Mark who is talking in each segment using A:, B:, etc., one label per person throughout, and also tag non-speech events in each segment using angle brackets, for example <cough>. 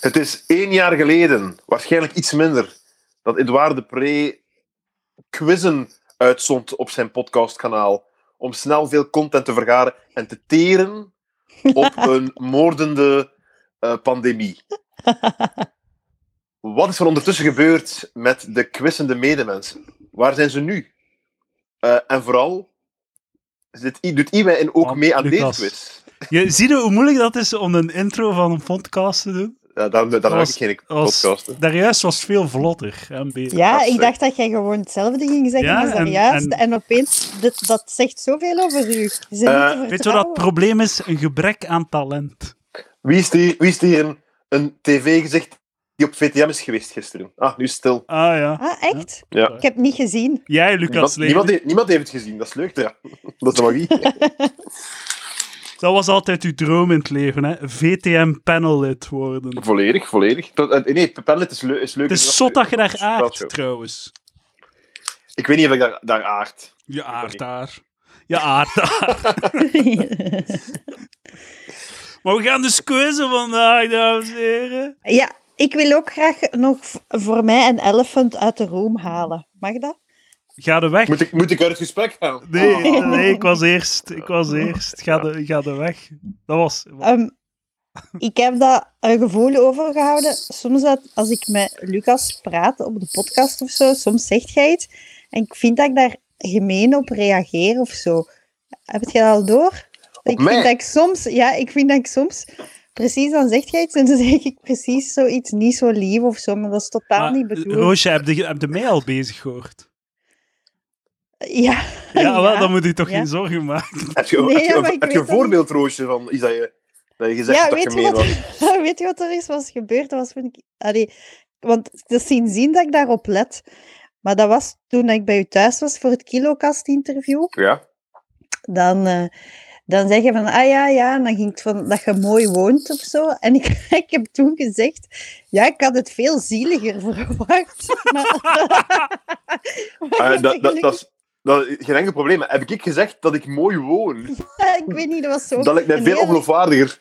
A: Het is één jaar geleden, waarschijnlijk iets minder, dat Edouard de Pre quizzen uitzond op zijn podcastkanaal. Om snel veel content te vergaren en te teren op een moordende eh, pandemie. Wat is er ondertussen gebeurd met de quizende medemensen? Waar zijn ze nu? Eh, en vooral, zit I- doet Iwijn ook
B: Ah,
A: mee aan
B: Lucas.
A: deze quiz?
B: Je, zie je hoe moeilijk dat is om een intro van een podcast te doen?
A: Ja, daar daar maak ik
B: was-
A: geen
B: was-
A: podcast. hè.
B: Daarjuist was het veel vlotter en beter.
A: Dat
C: Ja,
A: is
C: ik dacht dat jij gewoon hetzelfde ging zeggen
B: Ja,
C: als
B: en-
C: daarjuist.
B: en-
C: En, opeens, dit, dat zegt zoveel over u. Ze niet
A: Eh,
C: te
B: Weet je wat dat
C: vertrouwen.
B: probleem is? Een gebrek aan talent.
A: Wie is hier, wie is hier een, een tv-gezicht die op VTM is geweest gisteren? Ah, nu stil.
B: Ah ja.
C: Ah, echt?
A: Ja.
C: Ik heb het niet gezien.
B: Jij,
A: Niemand,
B: Lucas Lely.
A: niemand, heeft, niemand heeft het gezien, dat is leuk. Ja. <laughs> Dat is de magie.
B: Dat was altijd uw droom in het leven, hè? VTM-panellid worden.
A: volledig, volledig. Dat, eh, nee, Pepperlet is, leu- is leuk.
B: Het is zot dat je daar aardt,
A: show.
B: trouwens.
A: Ik weet niet of ik daar, daar aard.
B: Je aardt daar. Je aardt daar. Maar we gaan dus quizzen vandaag, dames en heren.
C: ja, ik wil ook graag nog v- voor mij een elephant uit de room halen. Mag dat?
B: Ga de weg.
A: Moet ik, moet ik uit het gesprek gaan?
B: Nee,
A: Ah.
C: Oh.
B: nee, ik was eerst. Ik was eerst. Ga de, ga de weg. Dat was...
C: Ehm, ik heb daar een gevoel over gehouden. Soms dat, als ik met Lucas praat op de podcast of zo, soms zegt jij iets en ik vind dat ik daar gemeen op reageer of zo. Heb je dat al door? ik
A: mij?
C: vind dat ik soms, ja, ik vind dat ik soms precies dan zegt jij iets en dan zeg ik precies zoiets niet zo lief of zo, maar dat is totaal
B: Maar,
C: niet
B: eh,
C: bedoeld.
B: Roosje, heb je, heb je mij al bezig
C: <laughs>
B: gehoord?
C: Ja,
B: Ja, wel,
C: Ja.
B: dan moet je toch
C: Ja.
B: geen zorgen maken.
A: Heb je,
C: Nee,
A: heb je,
C: ja, maar ik
A: heb je een
C: weet dat
A: voorbeeld, Roosje, van iets dat je, dat je gezegd
C: Ja,
A: hebt dat
C: weet
A: je
C: je
A: mee
C: wat-
A: was?
C: <laughs> Weet je wat er is was gebeurd? Dat was toen ik... Allee, want het is sindsdien dat ik daarop let. Maar dat was toen ik bij u thuis was voor het Kilocast-interview. <laughs>
A: Ja.
C: Dan, eh, dan zeg je van, ah ja, ja. En dan ging het van dat je mooi woont of zo. En ik, <laughs> ik heb toen gezegd, ja, ik had het veel zieliger verwacht. <laughs> Maar, <laughs>
A: Eh, Ah, dat, dat, dat is dat, is geen enkel probleem. Maar Heb ik gezegd dat ik mooi woon?
C: ik weet niet, dat was zo...
A: Dat ik mij
C: een
A: veel
C: heel-
A: ongeloofwaardiger.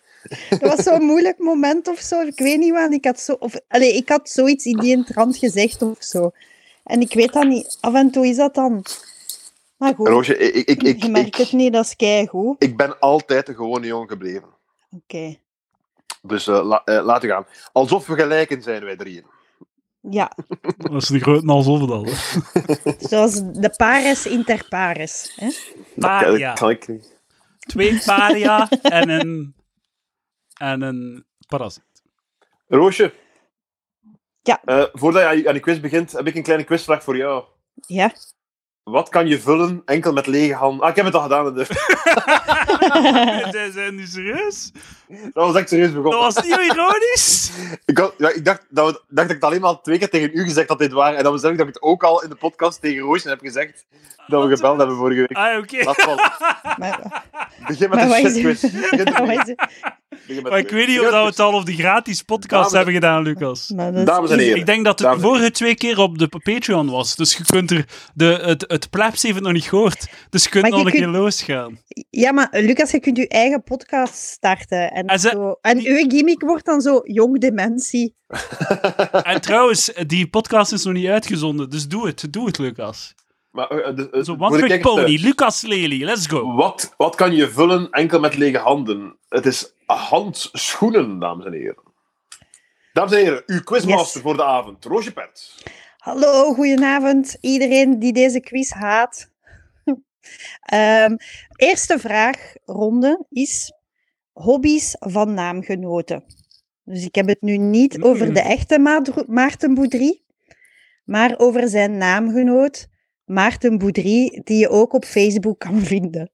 C: Dat was zo'n moeilijk moment of zo. Ik weet niet waar. Ik had, zo, of, allee, ik had zoiets in die trant gezegd of zo. En ik weet dat niet. Af en toe is dat dan. Maar goed,
A: Roosje, ik, ik, ik,
C: je
A: ik,
C: merkt het
A: ik,
C: niet. Dat is keigoed.
A: ik ben altijd een gewone jongen gebleven.
C: Oké.
A: Dus eh, la- eh, laten we gaan. Alsof we gelijken zijn, wij drieën.
C: Ja,
B: Dat is een grote alsof dan. hè.
C: zoals de pares inter pares. Hè?
A: Dat
B: Paria.
A: kan ik niet.
B: Twee paria en een... En een
C: <laughs>
B: parasiet.
A: Roosje.
C: Ja.
A: Eh, voordat je aan je- aan die quiz begint, heb ik een kleine quizvraag voor jou.
C: Ja.
A: Wat kan je vullen enkel met lege handen? Ah, ik heb het al gedaan. in de-
B: Zij zijn nu serieus?
A: <laughs> Dat was echt serieus begonnen.
B: Dat was niet ironisch.
A: Ik, had- ja, ik dacht, dat we- dacht dat ik het alleen maar twee keer tegen u gezegd had dit waar. En dan besef ik dat ik het ook al in de podcast tegen Roosje heb gezegd. Dat we gebeld hebben vorige week.
B: Ah, oké.
A: Laat vallen.
C: Maar, <laughs>
A: Begin met
C: Maar
A: een
C: wat is-
A: shitquiz.
B: <laughs>
A: Begin
C: maar,
A: ermee.
C: wat is-
A: Begin met
B: Maar ik
A: ermee.
B: weet niet of
A: Begin
B: dat we
A: met
B: het al op de gratis podcast
A: Dames-
B: hebben gedaan, Lucas.
C: maar dat is-
A: Dames en heren.
B: Ik denk dat het
A: Dames-
B: de vorige twee keer op de Patreon was. Dus je kunt er... De, het, het plebs heeft het nog niet gehoord. Dus je kunt
C: Maar
B: nog
C: je
B: een
C: kunt-
B: keer
C: <laughs>
B: losgaan.
C: Ja, maar Lucas, je kunt je eigen podcast starten. En,
B: En ze-
C: zo. en
B: die-
C: uw gimmick wordt dan zo jong dementie.
B: En trouwens, die podcast is nog niet uitgezonden. Dus doe het. Doe het, Lucas.
A: Maar, eh, eh, dus, eh, voor
B: Zo,
A: de
B: One Trick
A: kijkers thuis.
B: Pony. Lucas Lely. Let's go.
A: Wat, wat kan je vullen enkel met lege handen? Het is handschoenen, dames en heren. Dames en heren, uw quizmaster
C: Yes.
A: voor de avond, Roosje Pert.
C: Hallo, goedenavond iedereen die deze quiz haat. <laughs> Ehm, eerste vraagronde is hobby's van naamgenoten. Dus ik heb het nu niet over de echte Maadro- Maarten Boudry, maar over zijn naamgenoot Maarten Boudry, die je ook op Facebook kan vinden.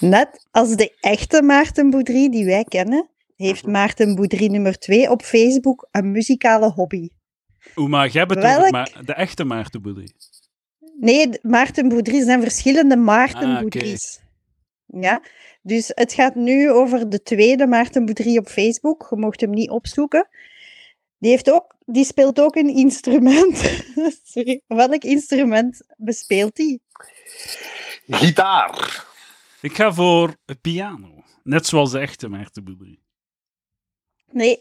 C: Net als de echte Maarten Boudry die wij kennen, heeft Maarten Boudry nummer 2 op Facebook een muzikale hobby.
B: Oeh, maar jij hebt het
C: Welk-
B: over Ma- de echte Maarten Boudry.
C: Nee, d- Maarten Boudries zijn verschillende Maarten
B: Ah, oké.
C: Boudries. Ja, dus het gaat nu over de tweede Maarten Boudry op Facebook. Je mocht hem niet opzoeken. Die, heeft ook, die speelt ook een instrument. <laughs> Sorry. Welk instrument bespeelt hij?
A: Gitaar.
B: Ik ga voor piano. Net zoals de echte Maarten Boudry.
C: Nee,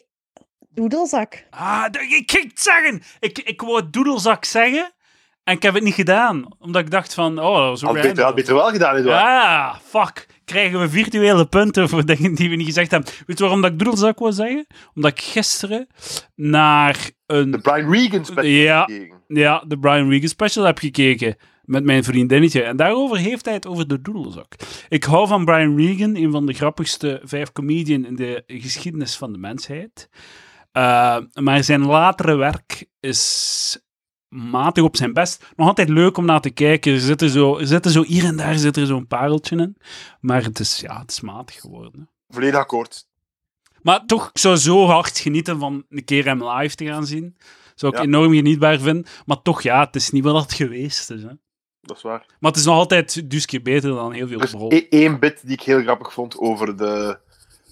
C: Doedelzak.
B: Ah, d- ik ging het zeggen. Ik, ik wou het doedelzak zeggen en ik heb het niet gedaan. Omdat ik dacht van, oh, dat was
A: Had
B: ook
A: beter, had beter wel gedaan, Edouard.
B: Ah, fuck. Krijgen we virtuele punten voor dingen die we niet gezegd hebben. Weet je waarom dat ik doedelzak wou zeggen? Omdat ik gisteren naar
A: De
B: een...
A: Brian Regan special.
B: Ja.
A: tegen.
B: Ja, de Brian Regan special heb gekeken met mijn vriendinnetje. En daarover heeft hij het over de doedelzak. Ik hou van Brian Regan, een van de grappigste vijf comedian in de geschiedenis van de mensheid. Eh, maar zijn latere werk is matig op zijn best. Nog altijd leuk om naar te kijken. Er zitten zo, er zitten zo hier en daar zit er zo'n pareltje in. Maar het is, ja, het is matig geworden.
A: Volledig akkoord.
B: Maar toch, ik zou zo hard genieten van een keer hem live te gaan zien. Zou ik
A: Ja.
B: enorm genietbaar vinden. Maar toch, ja, het is niet wat het geweest is. Hè.
A: Dat is waar.
B: Maar het is nog altijd dus keer beter dan heel veel
A: Er is
B: brol.
A: e- één bit die ik heel grappig vond over de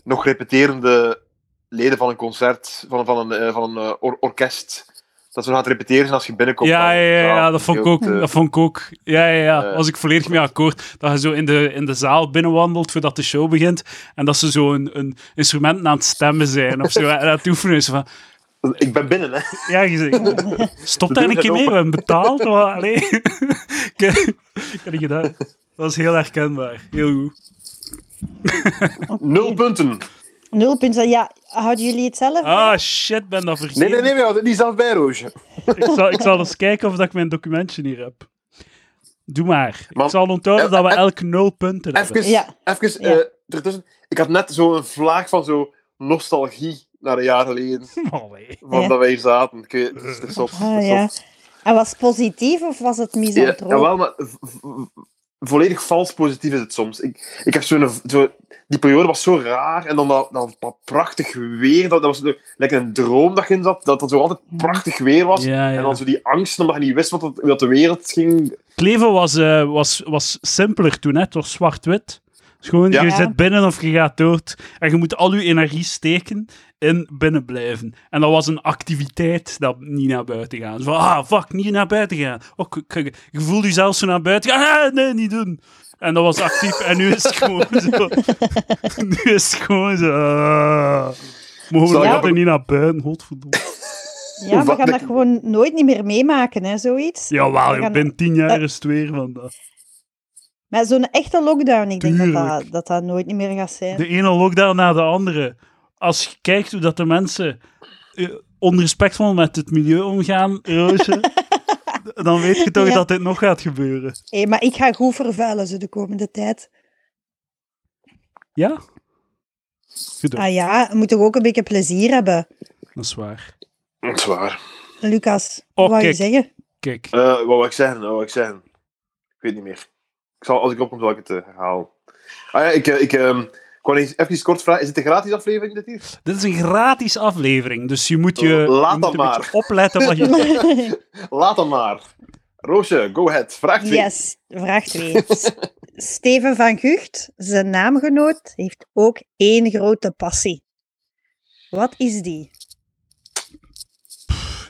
A: nog repeterende leden van een concert, van, van een, eh, van een eh, or- orkest. Dat ze nog aan het repeteren zijn als je binnenkomt.
B: Ja,
A: Dan-
B: ja, ja, ja, dat vond ik ook.
A: Eh,
B: Dat vond ik ook. Ja, ja, ja.
A: eh,
B: was ik volledig mee akkoord. Dat je zo in de, in de zaal binnenwandelt voordat de show begint. En dat ze zo een, een instrument aan het stemmen zijn of <laughs> zo. En aan het oefenen is van...
A: eh, Ik ben binnen, hè.
B: Ja, je zegt, stop daar
A: deur
B: een keer
A: gaat
B: mee, we
A: open.
B: hebben betaald. Maar, allee. <laughs> Ken- ken je dat? Dat is heel herkenbaar. Heel goed.
A: Nul punten.
C: Nul punten. Ja, houden jullie het zelf?
B: Ah, shit, ben dat vergeten.
A: Nee, nee, nee, we houden het niet zelf bij, Roosje.
B: Ik, zal, ik zal eens kijken of dat ik mijn documentje hier heb. Doe maar.
A: Maar-
B: ik zal onthouden dat we
A: eh, eh,
B: elk nul punten hebben.
A: Even,
C: Ja.
A: even
C: Ja.
A: eh, ertussen. Ik had net zo'n vlaag van zo nostalgie naar een jaar geleden,
B: Allee.
A: van
C: Ja.
A: dat wij hier zaten. Ik weet, het is- het is op.
C: Ah, ja. En was het positief of was het
A: Ja,
C: misantroop?
A: jawel, maar v- v- volledig vals positief is het soms. Ik, ik heb zo'n... Zo, die periode was zo raar en dan dat, dat, dat prachtig weer. Dat, dat was zo- lekker een droom dat je in zat, dat het zo altijd prachtig weer was.
B: Ja, ja.
A: En dan zo die angst omdat je niet wist wat, het- wat de wereld ging.
B: Het leven was, eh, was, was simpeler toen, hè. het was zwart-wit. Dus gewoon,
A: Ja.
B: je
C: Ja.
B: zit binnen of je gaat dood. En je moet al je energie steken in binnenblijven. En dat was een activiteit, dat niet naar buiten gaan. Zo van, ah, fuck, niet naar buiten gaan. Oh, k- k- je voelde jezelf zo naar buiten gaan. Ah, nee, niet doen. En dat was actief. En nu is het gewoon zo. <laughs> nu is het gewoon zo. ah. mogen we
A: Zal ik
B: later
A: ook-
B: niet naar buiten? Godverdomme.
C: Ja, we
A: Wat
C: gaan
A: de-
C: dat gewoon nooit niet meer meemaken, hè, zoiets.
B: Jawel,
C: We
B: ik
C: gaan- Eh,
B: ben tien jaar is het weer vandaag.
C: Maar zo'n echte lockdown, ik denk dat dat,
B: Tuurlijk.
C: dat dat nooit niet meer gaat zijn.
B: De ene lockdown na de andere. Als je kijkt hoe dat de mensen eh, onrespectvol met het milieu omgaan, Roosje, d- dan weet je toch
C: Ja.
B: dat dit nog gaat gebeuren.
C: Hé, maar ik ga goed vervuilen ze de komende tijd.
B: Ja? Goed, hoor.
C: Ah ja, we moeten ook een beetje plezier hebben.
B: dat is waar.
A: Dat is waar.
C: Lucas,
B: Oh,
C: wat wou
B: kijk.
C: je zeggen? <laughs>
B: Kijk,
A: Eh, wat wil ik zeggen? Wat wou ik zeggen? Ik weet niet meer. Ik zal, als ik opkom, zal ik het eh, herhalen. Ah ja, ik... eh, ik ehm, ik wou eens- even kort vragen. Is het een gratis aflevering dit hier?
B: dit is een gratis aflevering, dus je moet je, je
A: Laat
B: moet
A: dat
B: een beetje
A: maar.
B: opletten wat
C: <laughs>
B: je...
A: Laat dan maar. Roosje, go ahead. Vraag <laughs> twee.
C: yes, vraag 2. Steven van Gucht, zijn naamgenoot, heeft ook één grote passie. Wat is die?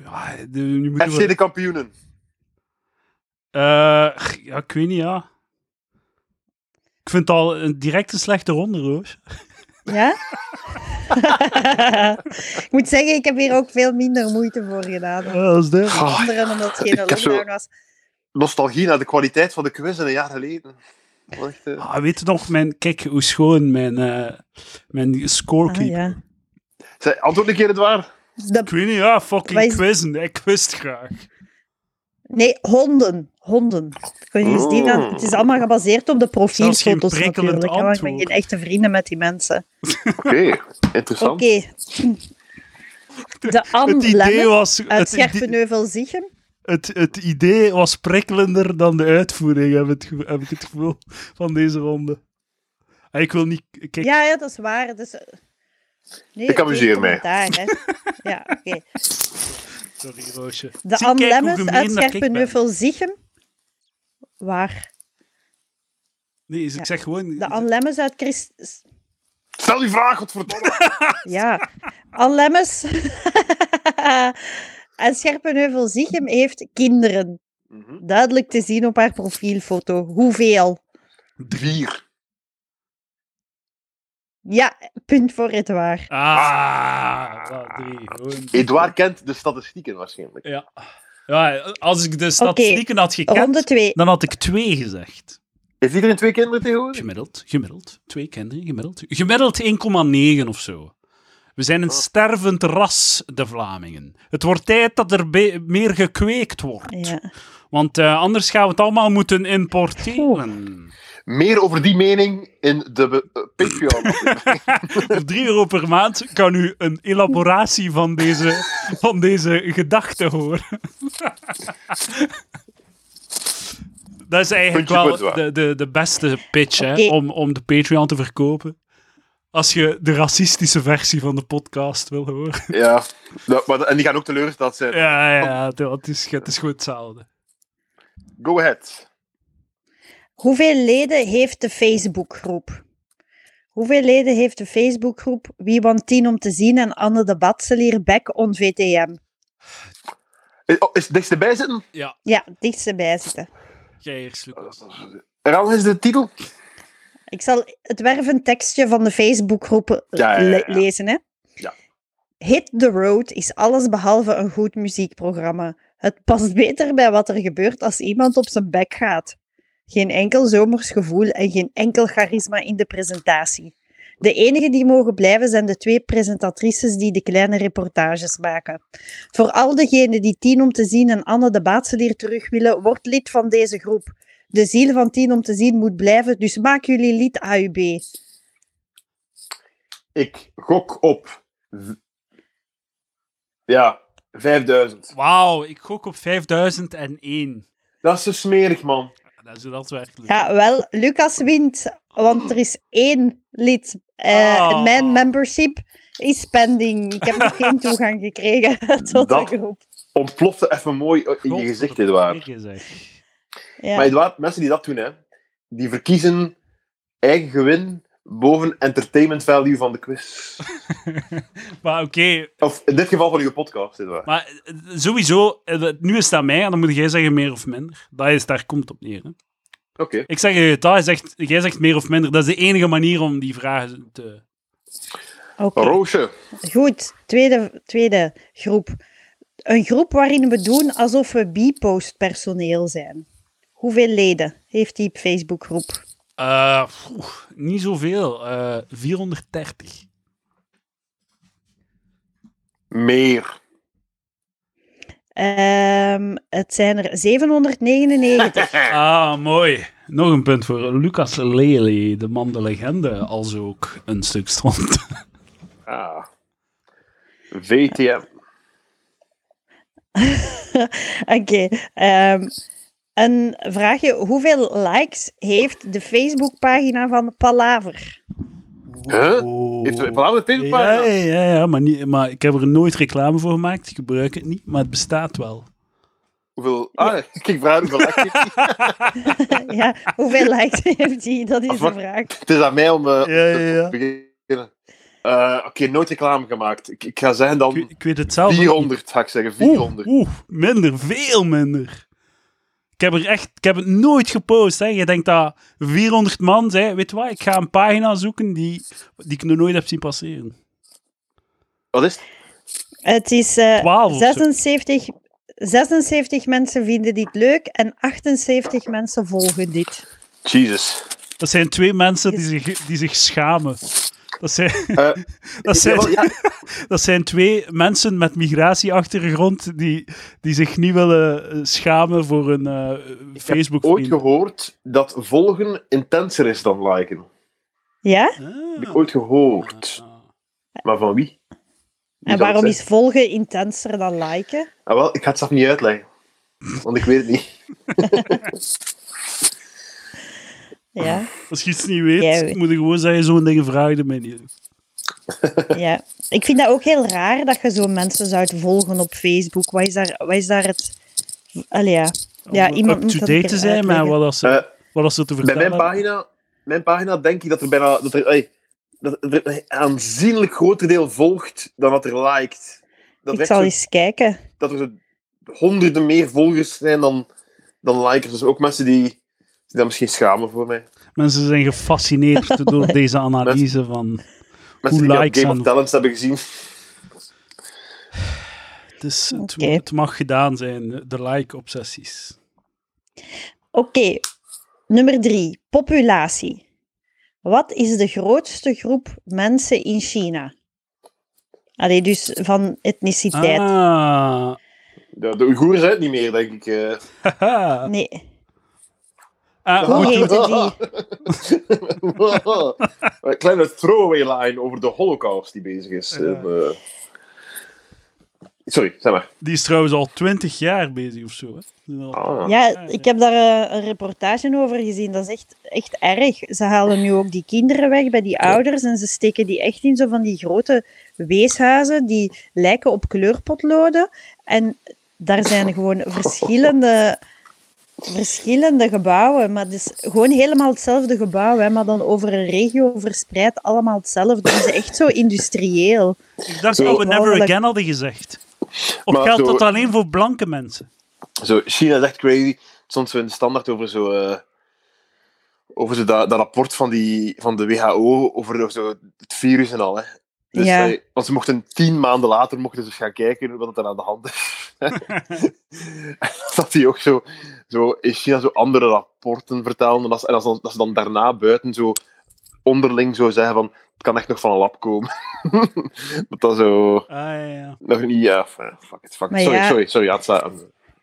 B: Ja, Ah, de- nu moeten
A: FC
B: we...
A: de kampioenen.
B: Eh, ja, ik weet niet, ja. Ik vind het al een direct een slechte ronde, Roos.
C: Ja? <laughs> ik moet zeggen, ik heb hier ook veel minder moeite voor gedaan.
B: Ja, dat is duidelijk.
A: Ah,
C: Anderen omdat het geen
A: Ik heb zo-
C: lockdown was.
A: nostalgie naar de kwaliteit van de quiz in een jaar geleden. Dat was echt, eh,
B: Ah, weet je nog, mijn, kijk hoe schoon mijn, eh mijn
C: Ah,
B: scorekeeper.
C: ja.
A: Zij, antwoord een keer het waar.
B: Ik
C: De...
B: weet niet, ja, fucking
C: Wat is-
B: quizzen. Ik wist graag.
C: Nee, honden. Honden. Kun je eens die dan...
A: Oh.
C: Het is allemaal gebaseerd op de
B: Zelfs geen
C: profielfoto's
B: prikkelend
C: natuurlijk. hè, want Ik ben
B: antwoord.
C: geen echte vrienden met die mensen.
A: Oké,
C: <laughs>
A: interessant.
C: Oké. De
B: Het idee,
C: Anne
B: was,
C: uit
B: het, idee,
C: Scherpenheuvel-Ziegem.
B: het, het idee was prikkelender dan de uitvoering, heb, het, ge- heb ik het gevoel, van deze ronde. Ah, Ik wil niet... Kijk,
C: Ja, ja, dat is waar. Dus... eh, Nee,
A: Ik amuseer
C: geen
A: mij.
C: commentaar,
A: <laughs>
C: hè. Ja, oké.
B: sorry, Roosje.
C: De
B: Zie, kijk hoe
C: Anne Lemmers
B: gemeen
C: uit
B: dat ik ben.
C: Scherpenheuvel-Ziegem. Waar?
B: Nee, dus ik
C: Ja.
B: zeg gewoon...
C: De Anne Lemmers uit Christ...
A: Stel die vraag, godverdomme.
C: Ja, Anne Lemmens <laughs> en Scherpenheuvel-Ziegem heeft kinderen.
A: Mhm.
C: Duidelijk te zien op haar profielfoto. Hoeveel?
A: Vier.
C: Ja, punt voor Edouard.
B: Ah, wel drie. Gewoon-
A: Edouard kent de statistieken waarschijnlijk.
B: Ja. ja, als ik de statistieken had gekend,
C: Ronde 2.
B: dan had ik twee gezegd.
A: Heeft iedereen twee kinderen tegenwoordig?
B: Gemiddeld, gemiddeld. Twee kinderen, gemiddeld. Gemiddeld 1,9 of zo. We zijn een stervend ras, de Vlamingen. Het wordt tijd dat er be- meer gekweekt wordt.
C: Ja.
B: Want eh, anders gaan we het allemaal moeten importeren.
A: Meer over die mening in de be- eh, Patreon.
B: Voor 3 euro per maand kan u een elaboratie van deze, van deze gedachte horen. <laughs> Dat is eigenlijk
A: Puntje
B: wel
A: goed, waar.
B: de, de, de beste pitch hè,
C: Oké.
B: om, om de Patreon te verkopen. Als je de racistische versie van de podcast wil
A: <laughs>
B: horen.
A: ja. Ja, maar, en die gaan ook teleurgesteld zijn.
B: Ja, ja, het- het is, het is goed hetzelfde.
A: Go ahead.
C: Hoeveel leden heeft de Facebookgroep? Hoeveel leden heeft de Facebookgroep Wie want 10 om te zien en Anne de Batselier Back on VTM?
A: Is, oh, is niks erbij zitten?
C: Ja, het dichtste bij zitten.
B: Geiers, Lucas.
A: Herhaal eens de titel.
C: Ik zal het wervend tekstje van de Facebookgroep eh,
A: Ja, ja, ja,
C: le-
A: ja.
C: lezen. Hè?
A: Ja.
C: Hit the Road is allesbehalve een goed muziekprogramma. Het past beter bij wat er gebeurt als iemand op zijn bek gaat. Geen enkel zomers gevoel en geen enkel charisma in de presentatie. De enigen die mogen blijven zijn de twee presentatrices die de kleine reportages maken. Voor al degenen die Tien om te zien en Anne de Baatselier terug willen, word lid van deze groep. De ziel van Tien om te zien moet blijven, dus maak jullie lid AUB.
A: Ik gok op. v- Ja, 5000.
B: Wauw, ik gok op 5001.
A: Dat is zo smerig, man.
B: Dat is hoe dat werkelijk.
C: Ja, wel, Lucas wint, want er is één lid. Eh,
B: Ah.
C: Mijn membership is pending. Ik heb nog geen toegang gekregen <laughs> tot
A: Dat-
C: de groep.
A: Ontplofte even mooi in je gezicht, Edouard.
C: Ja.
A: Maar Edouard, mensen die dat doen, hè, die verkiezen eigen gewin boven entertainment value van de quiz.
B: <laughs> Maar oké,
A: Of in dit geval van uw podcast, Edouard.
B: Maar eh, sowieso, eh, nu is het aan mij en dan moet jij zeggen meer of minder. Dat is, daar komt het op neer. Hè?
A: Oké.
B: Ik zeg je, dat is echt, jij zegt meer of minder. Dat is de enige manier om die vragen te...
C: Oké.
A: Roosje.
C: Goed, tweede, tweede groep. Een groep waarin we doen alsof we B-post personeel zijn. Hoeveel leden heeft die Facebookgroep?
B: Eh, poeh, niet zoveel. Eh 430.
A: Meer.
C: Ehm, het zijn er 799.
A: Eh.
B: Ah, mooi. Nog een punt voor Lucas Lely, de man de legende, als ook een stuk stond.
A: Ah. VTM.
C: Oké. ehm, een vraagje. Hoeveel likes heeft de Facebookpagina van Palaver? <laughs>
A: Huh?
B: Oh.
A: Heeft de Vlaamse
B: Ja,
A: Tegenpagina?
B: ja, ja maar, niet, maar ik heb er nooit reclame voor gemaakt. Ik gebruik het niet, maar het bestaat wel.
A: Hoeveel? Ah, <laughs> ik vraag hoeveel actie.
C: ja, hoeveel likes heeft die? Dat is de
A: Wacht.
C: vraag.
A: Het is aan mij om eh,
B: Ja, ja,
A: te
B: ja.
A: beginnen. Eh, Oké, nooit reclame gemaakt. Ik, ik ga zeggen
B: Ik, weet-
A: dan
B: ik weet het zelf. ook niet.
A: 400, ga ik zeggen.
B: Oeh,
A: 400.
B: Oeh, minder, veel minder. Ik heb, er echt, ik heb het nooit gepost. Hè. Je denkt dat 400 man zei, weet je wat, ik ga een pagina zoeken die, die ik nog nooit heb zien passeren.
A: Wat is het?
C: Het is eh,
B: 12 of zo.
C: 76, 76 mensen vinden dit leuk en 78 mensen volgen dit.
A: Jesus.
B: Dat zijn twee mensen die zich, die zich schamen. Dat zijn, <laughs>
A: Eh,
B: dat, zijn,
A: ja, ja,
B: dat zijn twee mensen met migratieachtergrond die, die zich niet willen eh, schamen voor hun eh facebook
A: ooit gehoord dat volgen intenser is dan liken.
C: Ja?
A: Heb ik ooit gehoord. Maar van wie? Wie zal
C: En waarom
A: het
C: is
A: zijn?
C: volgen intenser dan liken?
A: Ah, wel, ik ga het zelf niet uitleggen. Want ik weet het niet.
C: Ja,
B: Als je iets niet
C: Jij
B: weet,
C: weet.
B: moet je gewoon zeggen, zo'n dingen vragen mij niet.
C: ja. Ik vind dat ook heel raar dat je zo mensen zou volgen op Facebook. Wat is daar, wat is daar het... Allee, ja. Ja,
B: Om
C: iemand moet dat een
B: up-to-date
C: keer
B: te zijn met
C: uitleggen.
B: wat, als ze,
A: Eh,
B: wat als ze te
A: bij
B: vertellen
A: mijn
B: hebben.
A: pagina, mijn pagina denk ik dat er bijna... Dat er, ey, dat er een aanzienlijk groter deel volgt dan dat er liked. Dat er
C: Ik
A: echt
C: zal
A: zo-
C: eens kijken.
A: dat er honderden meer volgers zijn dan, dan likers. Dus ook mensen die, die daar misschien schamen voor mij.
C: <laughs>
B: Mensen zijn gefascineerd door deze analyse van...
A: Mensen
B: Hoe
A: die al
B: likes
A: Game
B: aan-
A: of Talents hebben gezien.
B: Het, is, het,
C: Oké.
B: het mag gedaan zijn, de like-obsessies.
C: Oké, nummer drie. Populatie. Wat is de grootste groep mensen in China? Allee, dus van etniciteit.
B: Ah, <laughs>
A: De, de Oeigoeren zijn het niet meer, denk ik. eh. <laughs>
B: haha.
C: Nee,
B: Ah,
C: hoe
B: moet-
C: heette
A: Een kleine throwaway line over de holocaust die bezig is.
B: Ja.
A: En, eh, Sorry, zeg maar.
B: die is trouwens al twintig jaar bezig of zo. hè. Die is al-
A: Ah.
C: Ja, ik heb daar eh, een reportage over gezien. Dat is echt, echt erg. Ze halen nu ook die kinderen weg bij die ouders en ze steken die echt in zo van die grote weeshuizen die lijken op kleurpotloden. En daar zijn gewoon verschillende, verschillende gebouwen. Maar het is gewoon helemaal hetzelfde gebouw, hè, maar dan over een regio verspreid allemaal hetzelfde. Dus echt zo industrieel.
B: Ik dacht
A: Zo-
B: dat we Never
C: Mogelijk.
B: Again hadden gezegd. Of
A: Maar
B: geldt
A: zo-
B: dat alleen voor blanke mensen?
A: Zo, China is echt crazy. Soms zo in de standaard over zo. eh, over zo dat, dat rapport van, die, van de WHO over zo het virus en al. Hè. Dus,
C: Ja.
A: eh, want ze mochten tien maanden later mochten ze eens gaan kijken wat er aan de hand
C: <laughs>
A: is. dat die ook zo, zo in China zo andere rapporten vertellen. En, als, en als, dan- dat ze dan daarna buiten zo onderling zo zeggen van het kan echt nog van een lab komen. <laughs> dat dat zo
B: Ah, ja, ja.
A: nog niet... Ja, fuck it, fuck it.
C: Maar
A: Sorry,
C: ja.
A: sorry, sorry. Ja, het staat-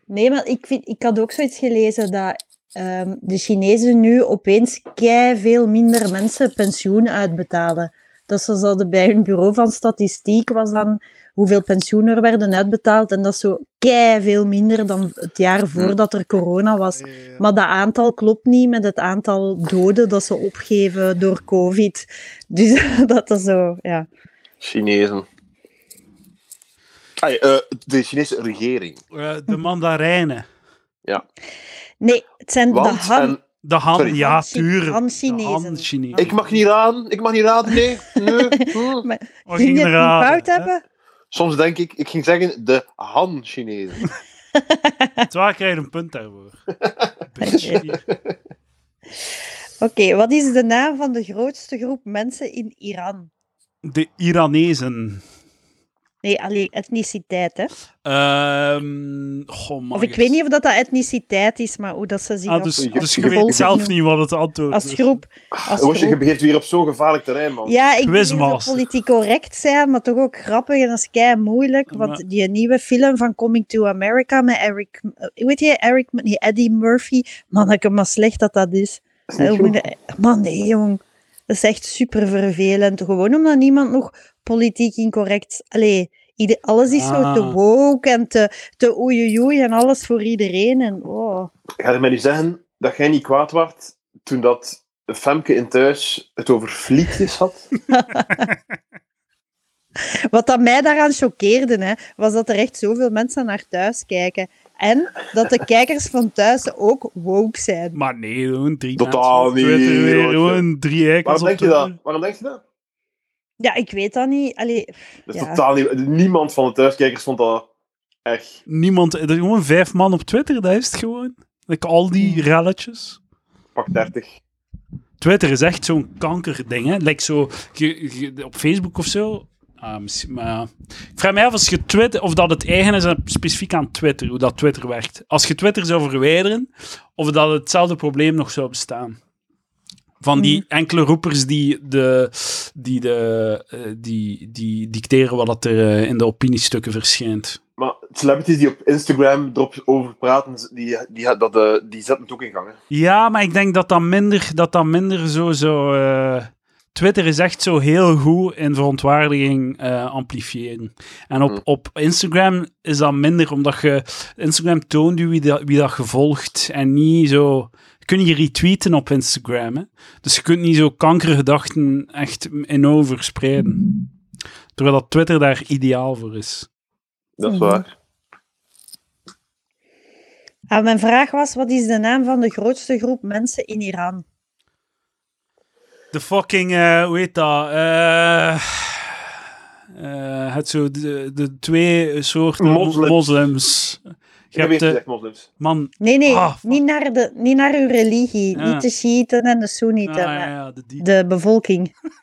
C: Nee, maar ik, vind, ik had ook zoiets gelezen dat ehm, de Chinezen nu opeens kei veel minder mensen pensioen uitbetalen. Dat ze zouden bij hun bureau van statistiek was dan hoeveel pensioenen er werden uitbetaald. En dat is zo kei veel minder dan het jaar voordat er corona was. Maar dat aantal klopt niet met het aantal doden dat ze opgeven door COVID. Dus <laughs> dat is zo, ja.
A: Chinezen. Ah, ja, eh, de Chinese regering.
B: Eh, de mandarijnen.
C: Nee, het zijn de
A: Want,
C: Han.
A: en
B: De Han,
A: Sorry.
B: ja, tuurlijk.
C: Han-Chinezen.
B: Chinezen.
A: ik mag niet raden, ik mag niet raden, nee. nee
C: <laughs>
A: hm.
B: Wat ging
C: Ging
B: er
C: je het niet
B: raden,
C: fout
B: hè?
C: hebben?
A: Soms denk ik, ik ging zeggen de Han-Chinezen.
B: Zwaar krijg je een punt
C: <laughs>
B: daarvoor. Bitch.
C: Oké, wat is de naam van de grootste groep mensen in Iran?
B: De Iranezen.
C: Nee, alleen etniciteit, hè?
B: Ehm goh, man,
C: Of ik weet niet of dat, dat etniciteit is, maar hoe dat ze zien
B: Ah,
C: op-
B: dus,
A: Ja,
B: dus
A: je
B: je weet
C: volgt
B: zelf
C: niet.
B: niet wat het antwoord
C: als
B: is.
C: groep. Als
A: Word je
C: groep.
A: begeeft weer op zo'n gevaarlijk terrein, man.
C: Ja, ik wil zo
B: Quizmaster.
C: politiek correct zijn, maar toch ook grappig en dat is kei moeilijk. Want
B: Maar-
C: die nieuwe film van Coming to America met Eric, eh, weet je, Eric, nee, Eddie Murphy. Man, ik maar slecht dat dat is.
A: Is niet goed.
C: Eh, hoe- Man, nee, jong. Dat is echt super vervelend. Gewoon omdat niemand nog politiek incorrect. Allee, ieder- alles is zo te
B: Ah.
C: woke en te, te oei, oei en alles voor iedereen. En, oh.
A: Ga je mij nu zeggen dat jij niet kwaad werd toen dat Femke in thuis het over vliegjes
C: <laughs>
A: had?
C: Wat dat mij daaraan choqueerde, hè, was dat er echt zoveel mensen naar thuis kijken. En dat de kijkers van thuis ook woke zijn.
B: Maar nee, gewoon drie
A: Totaal
B: mensen op Twitter,
A: niet,
B: weer
A: joh.
B: Gewoon drie
A: Waarom
B: eikels op
A: denk je
B: Twitter.
A: dat? Waarom denk je dat?
C: Ja, ik weet dat niet. Allee, pff,
A: Dat is
C: ja.
A: totaal niet... Niemand van de thuiskijkers vond dat echt...
B: Niemand, er is gewoon vijf man op Twitter, dat is het gewoon. Like al
C: Hmm.
B: die relletjes.
A: Pak 30.
B: Twitter is echt zo'n kankerding, hè. Like zo, je- je- op Facebook of zo. Ah, misschien- maar, ik vraag mij af als je Twitter, of dat het eigen is aan- specifiek aan Twitter, hoe dat Twitter werkt. Als je Twitter zou verwijderen, of dat hetzelfde probleem nog zou bestaan. Van die enkele roepers die, de, die, de, eh, die, die dicteren wat dat er eh, in de opiniestukken verschijnt.
A: Maar celebrities die op Instagram erop over praten, die, die, dat, eh, die zetten het ook in gang. Hè.
B: Ja, maar ik denk dat dat minder, dat dat minder zo. zo eh, Twitter is echt zo heel goed in verontwaardiging eh, amplifiëren. En op,
A: Hm.
B: op Instagram is dat minder, omdat je. Instagram toont u wie dat, wie dat gevolgt. En niet zo. Je kunt je retweeten op Instagram. Hè? Dus je kunt niet zo kankergedachten echt in overspreiden. Terwijl dat Twitter daar ideaal voor is.
A: Dat is
C: Mhm.
A: waar.
C: Ah, mijn vraag was, wat is de naam van de grootste groep mensen in Iran?
B: De fucking, eh, hoe heet dat? Eh, eh, het zo, de, de twee soorten
A: Moslims.
B: moslims.
A: Ik
B: Je
A: heb
B: hebt eh,
A: eerst
B: de
A: gezegd moslims.
B: man.
C: Nee, nee,
B: Ah, fuck.
C: niet, naar de, niet naar uw religie.
B: Ja.
C: Niet de Shiiten en de
B: Ah,
C: Soenieten,
B: ja,
C: maar
B: <laughs> ja, de die.
C: de bevolking. <laughs>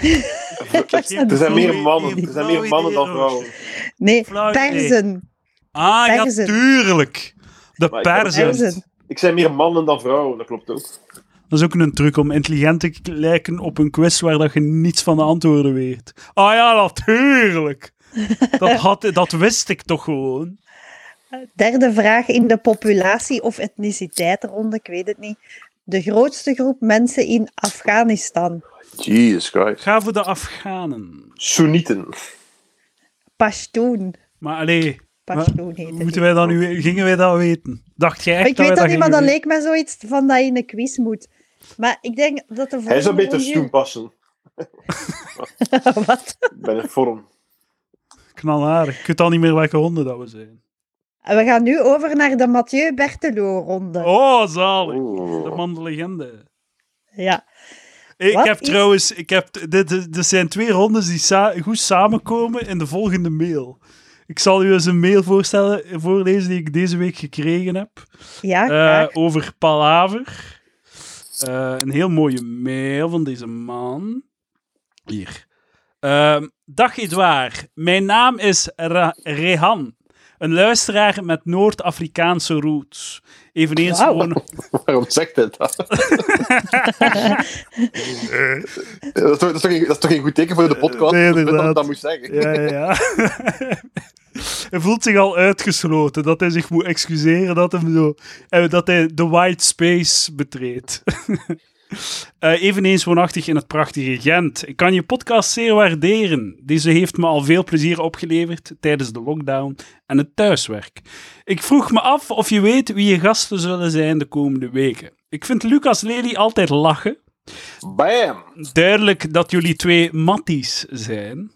A: Er zijn meer mannen, er zijn meer mannen dan vrouwen.
C: Nee,
B: Flauw idee.
C: perzen.
B: Ah, ja,
C: Perzen.
B: tuurlijk. De
A: Maar ik-
B: perzen.
C: Perzen.
A: Ik zei meer mannen dan vrouwen, dat klopt ook.
B: Dat is ook een truc om intelligent te k- lijken op een quiz waar dat je niets van de antwoorden weet. Ah ja,
C: <laughs>
B: natuurlijk. Dat, had, dat wist ik toch gewoon.
C: Derde vraag in de populatie of etniciteit ronde, ik weet het niet. De grootste groep mensen in Afghanistan.
A: Jesus Christ.
B: Ga voor de Afghanen.
A: Soenieten.
C: Pashtoen.
B: Maar allee,
C: Pashtoen heet het.
B: moeten wij dat nu, gingen wij dat weten? Dacht jij echt
C: ik weet
B: wij
C: dat niet, maar dat
B: gingen
C: leek me zoiets van dat je in een quiz moet. Maar ik denk dat de volgende
A: Hij zou beter
C: <laughs> ronde-
A: stoen passen.
C: Wat?
A: Ik ben in vorm.
B: weten? Knalharig. Ik weet al niet meer welke honden dat we zijn.
C: We gaan nu over naar de Mathieu Berthelot-ronde.
B: Oh, zalig.
A: Oeh.
B: De man de legende.
C: Ja.
B: Ik
C: Wat
B: heb
C: is-
B: trouwens, ik heb, t- dit, dit, dit zijn twee rondes die sa- goed samenkomen in de volgende mail. Ik zal u eens een mail voorstellen, voorlezen die ik deze week gekregen heb
C: Ja,
B: eh,
C: graag.
B: over Palaver. Eh, een heel mooie mail van deze man. Hier. Ehm, dag Edouard, mijn naam is Ra- Rehan. Een luisteraar met Noord-Afrikaanse roots. Eveneens
C: Wauw.
B: wonen-
A: <laughs> Waarom zegt
B: <laughs>
A: hij dat? dat, is toch, dat, is toch geen, dat is toch geen goed teken voor de podcast?
B: Nee,
A: dat je
B: inderdaad.
A: dat, dat moet zeggen.
B: Ja, ja, ja. hij voelt zich al uitgesloten. Dat hij zich moet excuseren dat, hem zo, eh, dat hij de white space betreedt. <laughs> Eh, eveneens woonachtig in het prachtige Gent. Ik kan je podcast zeer waarderen. Deze heeft me al veel plezier opgeleverd tijdens de lockdown en het thuiswerk. Ik vroeg me af of je weet wie je gasten zullen zijn de komende weken. Ik vind Lucas Lely altijd lachen <laughs>
A: Bam!
B: duidelijk dat jullie twee matties zijn.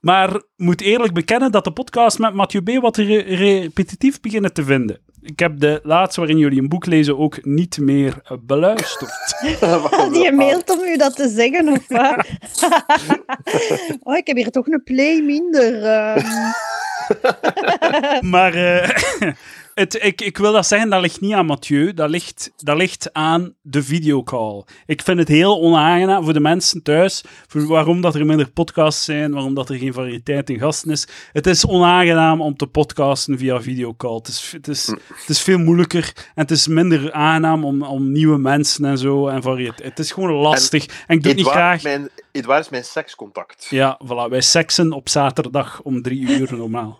B: Maar moet eerlijk bekennen dat de podcast met Mathieu B. wat re- repetitief beginnen te vinden. Ik heb de laatste waarin jullie een boek lezen ook niet meer eh, beluisterd.
A: Waarom
C: Die
A: dat?
C: mailt
B: ah.
C: om u dat te zeggen,
B: <laughs>
C: of wat? oh, ik heb hier toch een play minder. ehm.
B: maar eh, <coughs> het, ik, ik wil dat zeggen, dat ligt niet aan Mathieu. Dat ligt, dat ligt aan de videocall. Ik vind het heel onaangenaam voor de mensen thuis. Voor waarom dat er minder podcasts zijn, waarom dat er geen variëteit in gasten is. Het is onaangenaam om te podcasten via videocall. Het is, het is, het is veel moeilijker en het is minder aangenaam om, om nieuwe mensen en zo. En variëteit. Het is gewoon lastig. En, ik doe het niet
A: Edouard
B: graag.
A: is mijn, Edouard is mijn sekscontact.
B: Ja, voilà. Wij seksen op zaterdag om drie uur normaal.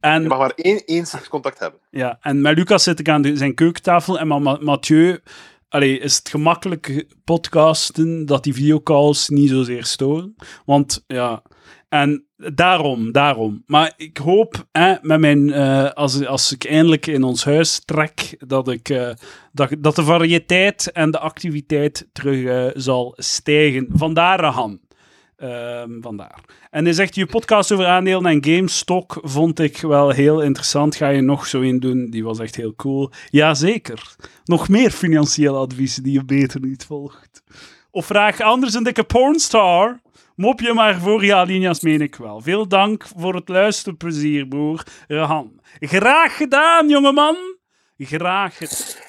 B: En
A: Je mag maar één, één sekscontact hebben.
B: ja, en met Lucas zit ik aan de- zijn keukentafel en met Ma- Mathieu allee, is het gemakkelijk podcasten dat die videocalls niet zozeer storen. Want ja, en daarom, daarom. Maar ik hoop, hè, met mijn, eh, als, als ik eindelijk in ons huis trek, dat, ik, eh, dat, dat de variëteit en de activiteit terug eh, zal stijgen. Vandaar, Rahan. Ehm, vandaar. En hij zegt, je podcast over aandelen en GameStop vond ik wel heel interessant. Ga je nog zo in doen? Die was echt heel cool. Jazeker. Nog meer financieel advies die je beter niet volgt. Of vraag anders een dikke pornstar? Mop je maar voor je alinea's, meen ik wel. Veel dank voor het luisterplezier, broer. Rahan. Graag gedaan, jongeman. Graag gedaan.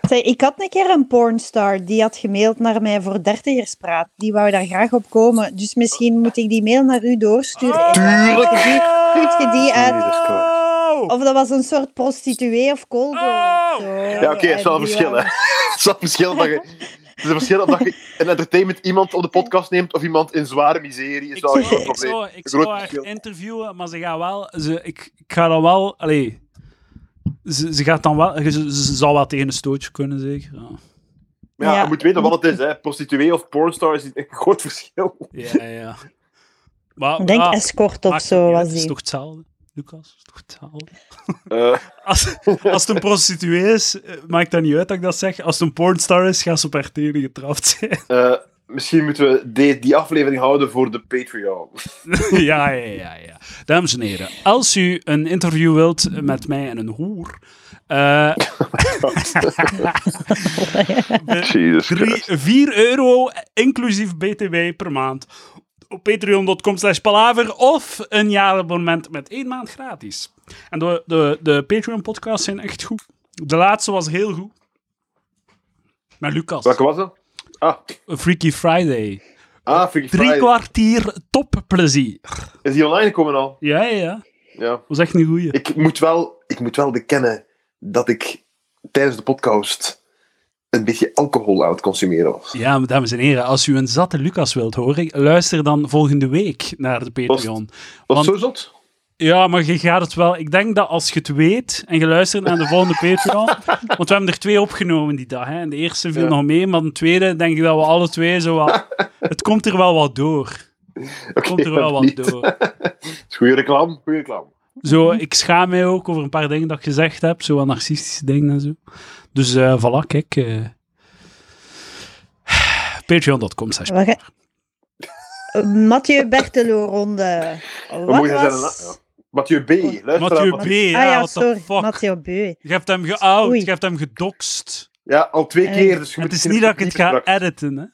C: Zeg, ik had een keer een pornstar die had gemaild naar mij voor dertigerspraat. Die wou daar graag op komen. Dus misschien moet ik die mail naar u doorsturen.
B: Ah.
C: En dan zoekt je die- zoekt je die uit.
A: Jezus Christ.
B: Oh!
C: Of dat was een soort prostituee of callgirl.
B: Oh!
C: of zo.
A: Ja, oké, het is wel een
C: En die
A: verschil, hè.
C: wou-
A: <laughs> Het is wel een verschil dat je... Het is een verschil of dat je een entertainment iemand op de podcast neemt of iemand in zware miserie. Is
B: Ik
A: wel een groot
B: zou, ik
A: probleem.
B: zou, ik
A: Een groot
B: zou haar
A: verschil.
B: interviewen, maar ze gaat wel... Ze, ik, ik ga dan wel... Allee, ze, ze gaat dan wel... Ze, ze- ze zal wel tegen een stootje kunnen, zeker. Ja,
A: Maar ja,
C: Ja.
A: je moet weten wat het is, hè. Prostituee of pornstar is een groot verschil.
B: ja. ja. <laughs> Maar,
C: Ik denk
B: ja,
C: escort of
B: Ah. maakt het
C: zo
B: niet uit,
C: was
B: Het is
C: die.
B: toch hetzelfde, Lucas? Het is toch hetzelfde?
A: Eh,
B: Als, als het een prostituee is, eh, maakt dat niet uit dat ik dat zeg. Als het een pornstar is, gaat ze op haar tenen getrapt zijn.
A: eh, misschien moeten we die, die aflevering houden voor de Patreon.
B: <laughs> ja, ja, ja, ja. Dames en heren, als u een interview wilt met mij en een hoer... eh,
A: Jesus
B: Drie- 4 euro inclusief BTW per maand op patreon.com slash palaver of een jaarabonnement met één maand gratis. En de, de, de Patreon-podcasts zijn echt goed. De laatste was heel goed. Met Lucas.
A: Welke was dat? Ah,
B: Freaky Friday.
A: Ah, Freaky
B: Drie
A: Friday.
B: kwartier topplezier.
A: Is die online gekomen al?
B: Ja, ja, ja.
A: Ja.
B: was echt een goeie.
A: Ik moet, wel, ik moet wel bekennen dat ik tijdens de podcast een beetje alcohol aan het consumeren was.
B: Ja, maar dames en heren, als u een zatte Lucas wilt horen, luister dan volgende week naar de Patreon.
A: Was
B: Want-
A: het zo zot?
B: Ja, maar je gaat het wel. Ik denk dat als je het weet en je luistert naar de
A: <laughs>
B: volgende Patreon. Want we hebben er twee opgenomen die dag. Hè. En de eerste viel
A: Ja.
B: nog mee, maar de tweede denk ik dat we alle twee zo
A: <laughs>
B: wat. Het komt er wel wat door. Het komt er
A: <laughs>
B: wel
A: of
B: wat
A: niet.
B: door.
A: Goeie reclame, goeie reclame.
B: Zo, ik schaam mij ook over een paar dingen dat ik gezegd heb. Zo wat narcistische dingen en zo. Dus eh voilà, kijk. eh. <sighs> Patreon.com. slash-
C: We gaan- Eh, Mathieu Bertelo-ronde. Wat
A: moeten zeggen,
C: was...
A: ja. Mathieu B. Luister
B: Mathieu
A: aan
B: B.
A: Mathieu-
B: Ja,
C: ah ja,
B: what the
C: sorry.
B: fuck.
C: Mathieu B.
B: Je hebt hem geout,
C: Oei.
B: je hebt hem gedokst.
A: Ja, al twee
C: Eh,
A: keer. Dus je
B: Het
A: moet
B: is
A: een
B: niet
A: keer
B: dat ik het
A: opnieuw
B: ga
A: straks.
B: editen, hè. Het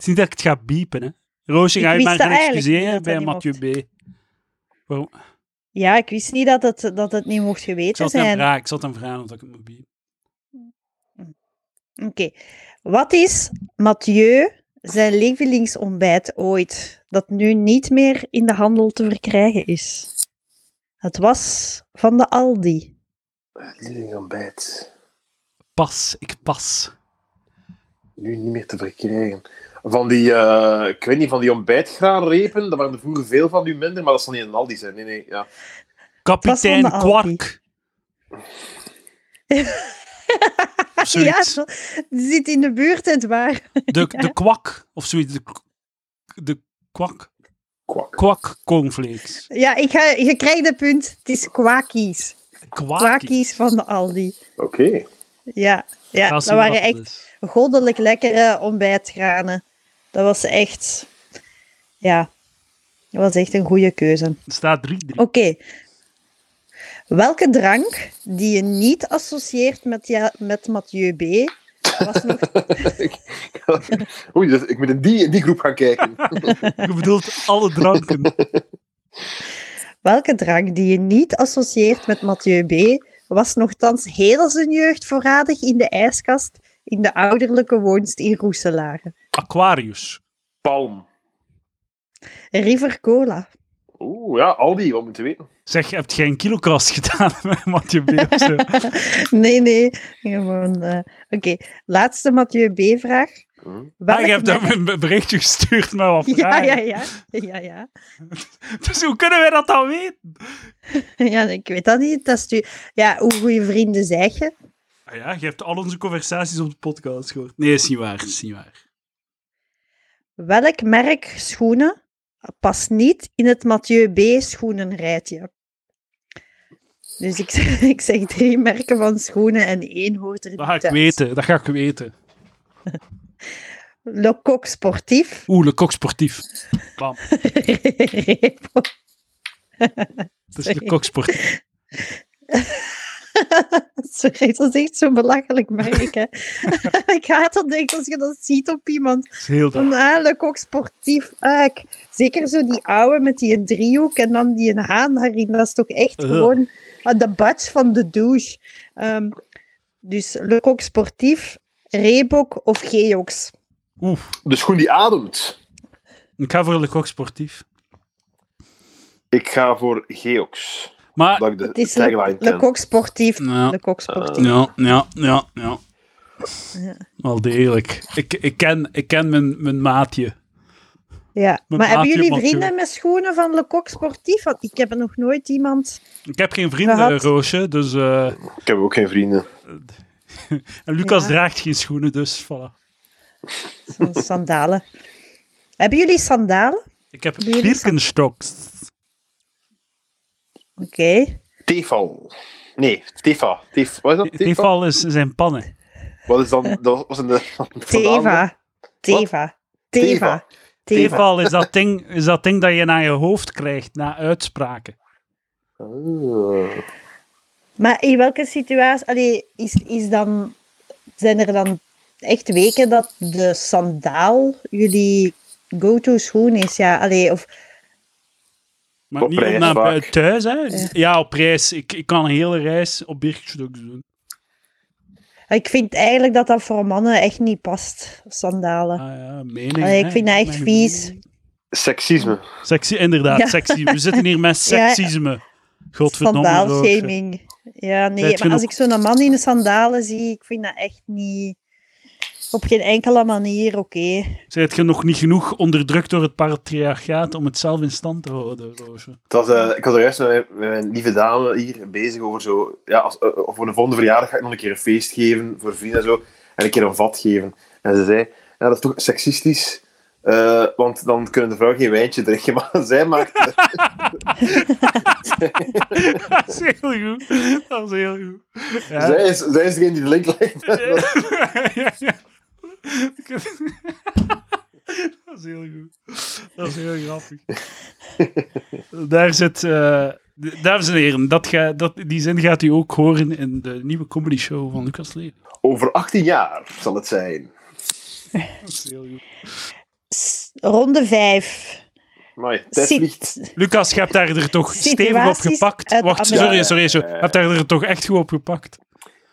B: is niet dat ik het ga biepen, hè. Roosje,
C: Ik
B: ga je
C: wist
B: maar
C: dat
B: gaan
C: eigenlijk niet
B: excuseren
C: dat
B: bij
C: dat niet
B: Mathieu B. Waarom?
C: Ja, ik wist niet dat het, dat het niet mocht
B: Ik zal
C: geweten
B: het hem
C: zijn. Oké.
B: vragen, ik zal het hem vragen of ik het moet biepen.
C: Wat is Mathieu zijn lievelingsontbijt ooit, dat nu niet meer in de handel te verkrijgen is? Het was van de Aldi.
A: Leerling aan bijt.
B: Pas, ik pas.
A: Nu niet meer te verkrijgen. Van die, eh, ik weet niet, van die ontbijtgraanrepen, daar waren er vroeger veel van, nu minder, maar dat zal niet een Aldi zijn. Nee, nee, ja.
B: Kapitein
C: van de Aldi. <laughs>
B: Kwark. Of zoiets.
C: Ja, die zit in de buurt, het waar.
B: de, de kwak, of zoiets. De, k- de kwak.
A: Kwak.
B: Kwak cornflakes.
C: Ja, ik ga, je krijgt de punt. Het is kwaakies.
B: Kwaki.
C: Kwaakies van de Aldi.
A: Oké.
C: Ja, ja dat waren echt goddelijk eh, lekkere ontbijtgranen. Dat was echt... Ja, dat was echt een goede keuze.
B: Er staat 3-3.
C: Oké. Welke drank die je niet associeert met, ja, met Mathieu B... Was nog...
A: Oei, dus ik moet in die, in die groep gaan
B: <laughs>
A: kijken.
B: Je bedoelt alle
C: <laughs>
B: dranken.
C: Welke drank die je niet associeert met Mathieu B... was nogthans heel zijn jeugd voorradig in de ijskast... in de ouderlijke woonst in Roeselare.
B: Aquarius.
A: Palm.
C: River Cola.
A: Oeh, ja, Aldi, wat moeten we weten?
B: Zeg, heb jij een kilokras <laughs> gedaan met Mathieu B of <laughs> zo?
C: Nee, nee. Gewoon, eh, Oké, laatste Mathieu B-vraag.
A: Hm?
B: Ah, je
C: Welk
B: hebt
C: merk-
B: hem een berichtje gestuurd met <laughs> wat
C: <laughs> Ja,
B: vragen.
C: ja, ja. ja, ja.
B: Dus hoe kunnen wij dat dan weten?
C: ja ik weet dat niet. Dat is tu- ja, hoe goede vrienden zeg je?
B: Ah ja, je hebt al onze conversaties op de podcast gehoord. Nee, is niet waar, is niet waar.
C: Welk merk schoenen past niet in het Mathieu B. schoenenrijtje? Dus ik, <laughs> zeg- ik zeg drie merken van schoenen en één hoort er niet
B: Dat ga ik
C: thuis.
B: weten, dat ga ik weten.
C: Le Coq Sportief. <laughs>
B: Oeh, Le Coq Sportief. Bam,
C: Repo.
B: het is Le Coq <laughs> Sportief.
C: <laughs> Sorry, dat is echt zo'n belachelijk
B: <laughs>
C: merk. Hè. ik haat dat echt als je dat ziet op iemand.
B: Dat is heel dat.
C: Van, ah, leuk ook sportief. Ah, ik- zeker zo die oude met die driehoek en dan die een haan daarin. Dat is toch echt
B: Ugh.
C: gewoon ah, de badge van de douche. Ehm, dus leuk ook sportief, Reebok of Geox.
B: Oeh,
A: De schoen die ademt.
B: ik ga voor Le Coq Sportief.
A: Ik ga voor Geox.
B: Maar,
A: Dat ik de
C: Het is
A: tagline ken.
C: leuk ook sportief.
B: ja, Eh,
C: Leuk ook sportief.
B: ja, ja, ja, ja.
C: Ja.
B: Wel degelijk. Ik, ik ken, ik ken mijn, mijn maatje.
C: Ja.
B: Met
C: Maar hebben
B: Mathieu
C: jullie
B: Mathieu.
C: vrienden met schoenen van Le Coq Sportief? Want ik heb er nog nooit iemand...
B: Ik heb geen vrienden,
C: Gehad.
B: Roosje, dus... eh,
A: Ik heb ook geen vrienden.
B: en Lucas
C: Ja.
B: draagt geen schoenen, dus voilà.
C: Zo'n
B: <laughs>
C: sandalen. Hebben jullie sandalen?
B: Ik heb
C: Doe je dit-
B: Birkenstocks.
C: Oké.
A: Tefal. Nee, Tefa. Tef, wat is dat? Tefa?
B: Tefal is zijn pannen.
A: Wat is dan... Dat was een... van de <laughs> andere-
C: Teva. Teva. Teva. Teva.
B: Tefal is dat, ding, is dat ding dat je naar je hoofd krijgt na uitspraken.
A: Ah.
C: Maar in welke situatie... Allee, is, is dan, zijn er dan echt weken dat de sandaal jullie go-to schoen is? Ja, allee, of...
B: Maar
A: Op
B: niet
A: reis
B: om naar
A: vaak.
B: buiten thuis, hè? Ja, op reis. Ik, ik kan een hele reis op Birkenstocks doen.
C: Ik vind eigenlijk dat dat voor mannen echt niet past, sandalen.
B: Ah, ja, mening,
C: Allee, Oh, ik
B: hè.
C: vind dat echt
B: Mijn
C: vies.
B: mening.
A: Seksisme.
B: Sexy, inderdaad,
C: Ja.
B: sexy. We zitten hier met
C: <laughs> Ja.
B: seksisme. Godverdomme. Roosje.
C: Sandaalshaming. Ja, nee,
B: Zijt
C: maar
B: genoeg-
C: als ik zo'n man in de sandalen zie, ik vind dat echt niet... Op geen enkele manier, oké.
B: Zijt je nog niet genoeg onderdrukt door het patriarchaat om het zelf in stand te houden, Roosje?
A: Het was, eh, ik was er juist met mijn, met mijn lieve dame hier bezig over zo... Ja, als, eh, eh, voor de volgende verjaardag ga ik nog een keer een feest geven voor vrienden en zo. En een keer een vat geven. En ze zei, ja, dat is toch seksistisch? eh, want dan kunnen de vrouwen geen wijntje drinken. <laughs> Maar zij maakt...
B: <laughs> Dat is heel goed. Dat is heel goed. Ja.
A: Zij, is, zij is degene die de link legt.
B: ja, ja. <laughs> Dat is heel goed. Dat is heel grappig. Daar zit... eh, d- dames en heren, dat ga, dat, die zin gaat u ook horen in de nieuwe comedy show van Lucas Lee.
A: Over 18 jaar zal het zijn.
B: Dat is heel goed.
C: S- Ronde 5.
A: Amai, tijd vliegt.
B: Lucas, je hebt daar er toch stevig op
C: Situaties
B: gepakt.
C: uit
B: Wacht,
C: Amerika.
B: sorry, sorry. sorry. Je hebt daar er toch echt goed op gepakt.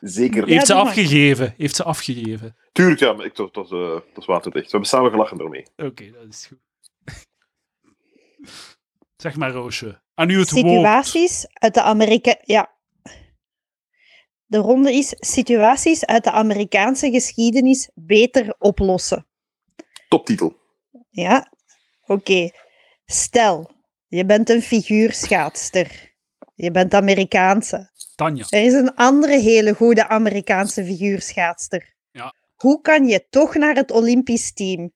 A: Zeker.
B: Heeft ze
C: doe maar.
B: afgegeven. Heeft ze afgegeven.
A: Tuurlijk, ja, maar ik, dat, dat, eh, dat is waterdicht. We hebben samen gelachen daarmee.
B: Oké, dat is goed. <laughs> Zeg maar, Roosje. Aan u het woord.
C: Situaties uit de Amerika... Ja. De ronde is situaties uit de Amerikaanse geschiedenis beter oplossen.
A: Toptitel.
C: Ja? Oké. Stel, je bent een figuurschaatster. Je bent Amerikaanse.
B: Tanja.
C: Er is een andere hele goede Amerikaanse figuurschaatster.
B: Ja.
C: Hoe kan je toch naar het Olympisch team?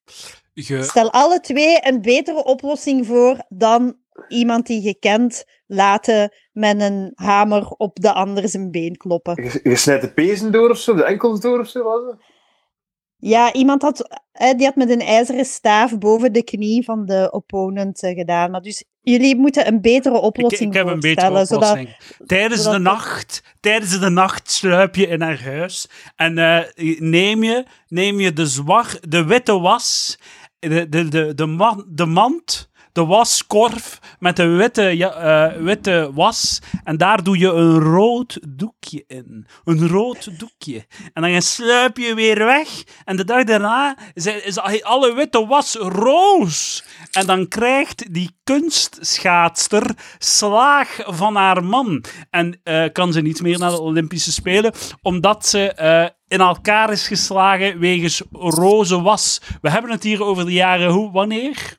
B: Je...
C: Stel alle twee een betere oplossing voor dan iemand die je kent laten met een hamer op de ander zijn been kloppen.
A: Je, je snijdt de pezen door of zo, de enkels door of zo, was het?
C: Ja, iemand had, eh, die had met een ijzeren staaf boven de knie van de opponent eh, gedaan. Maar dus jullie moeten een betere
B: Ik,
C: oplossing
B: ik heb een betere
C: voorstellen, zodat-
B: oplossing. tijdens
C: zodat
B: de
C: dat-
B: nacht, tijdens de nacht sluip je in haar huis en eh, neem, je, neem je de, zwar, de witte was, de, de, de, de, man, de mand, de waskorf met de witte, ja, eh, witte was en daar doe je een rood doekje in. Een rood doekje. En dan sluip je weer weg en de dag daarna is, is alle witte was roos. En dan krijgt die kunstschaatster slaag van haar man. En eh, kan ze niet meer naar de Olympische Spelen, omdat ze eh, in elkaar is geslagen wegens roze was. We hebben het hier over de jaren, hoe, wanneer?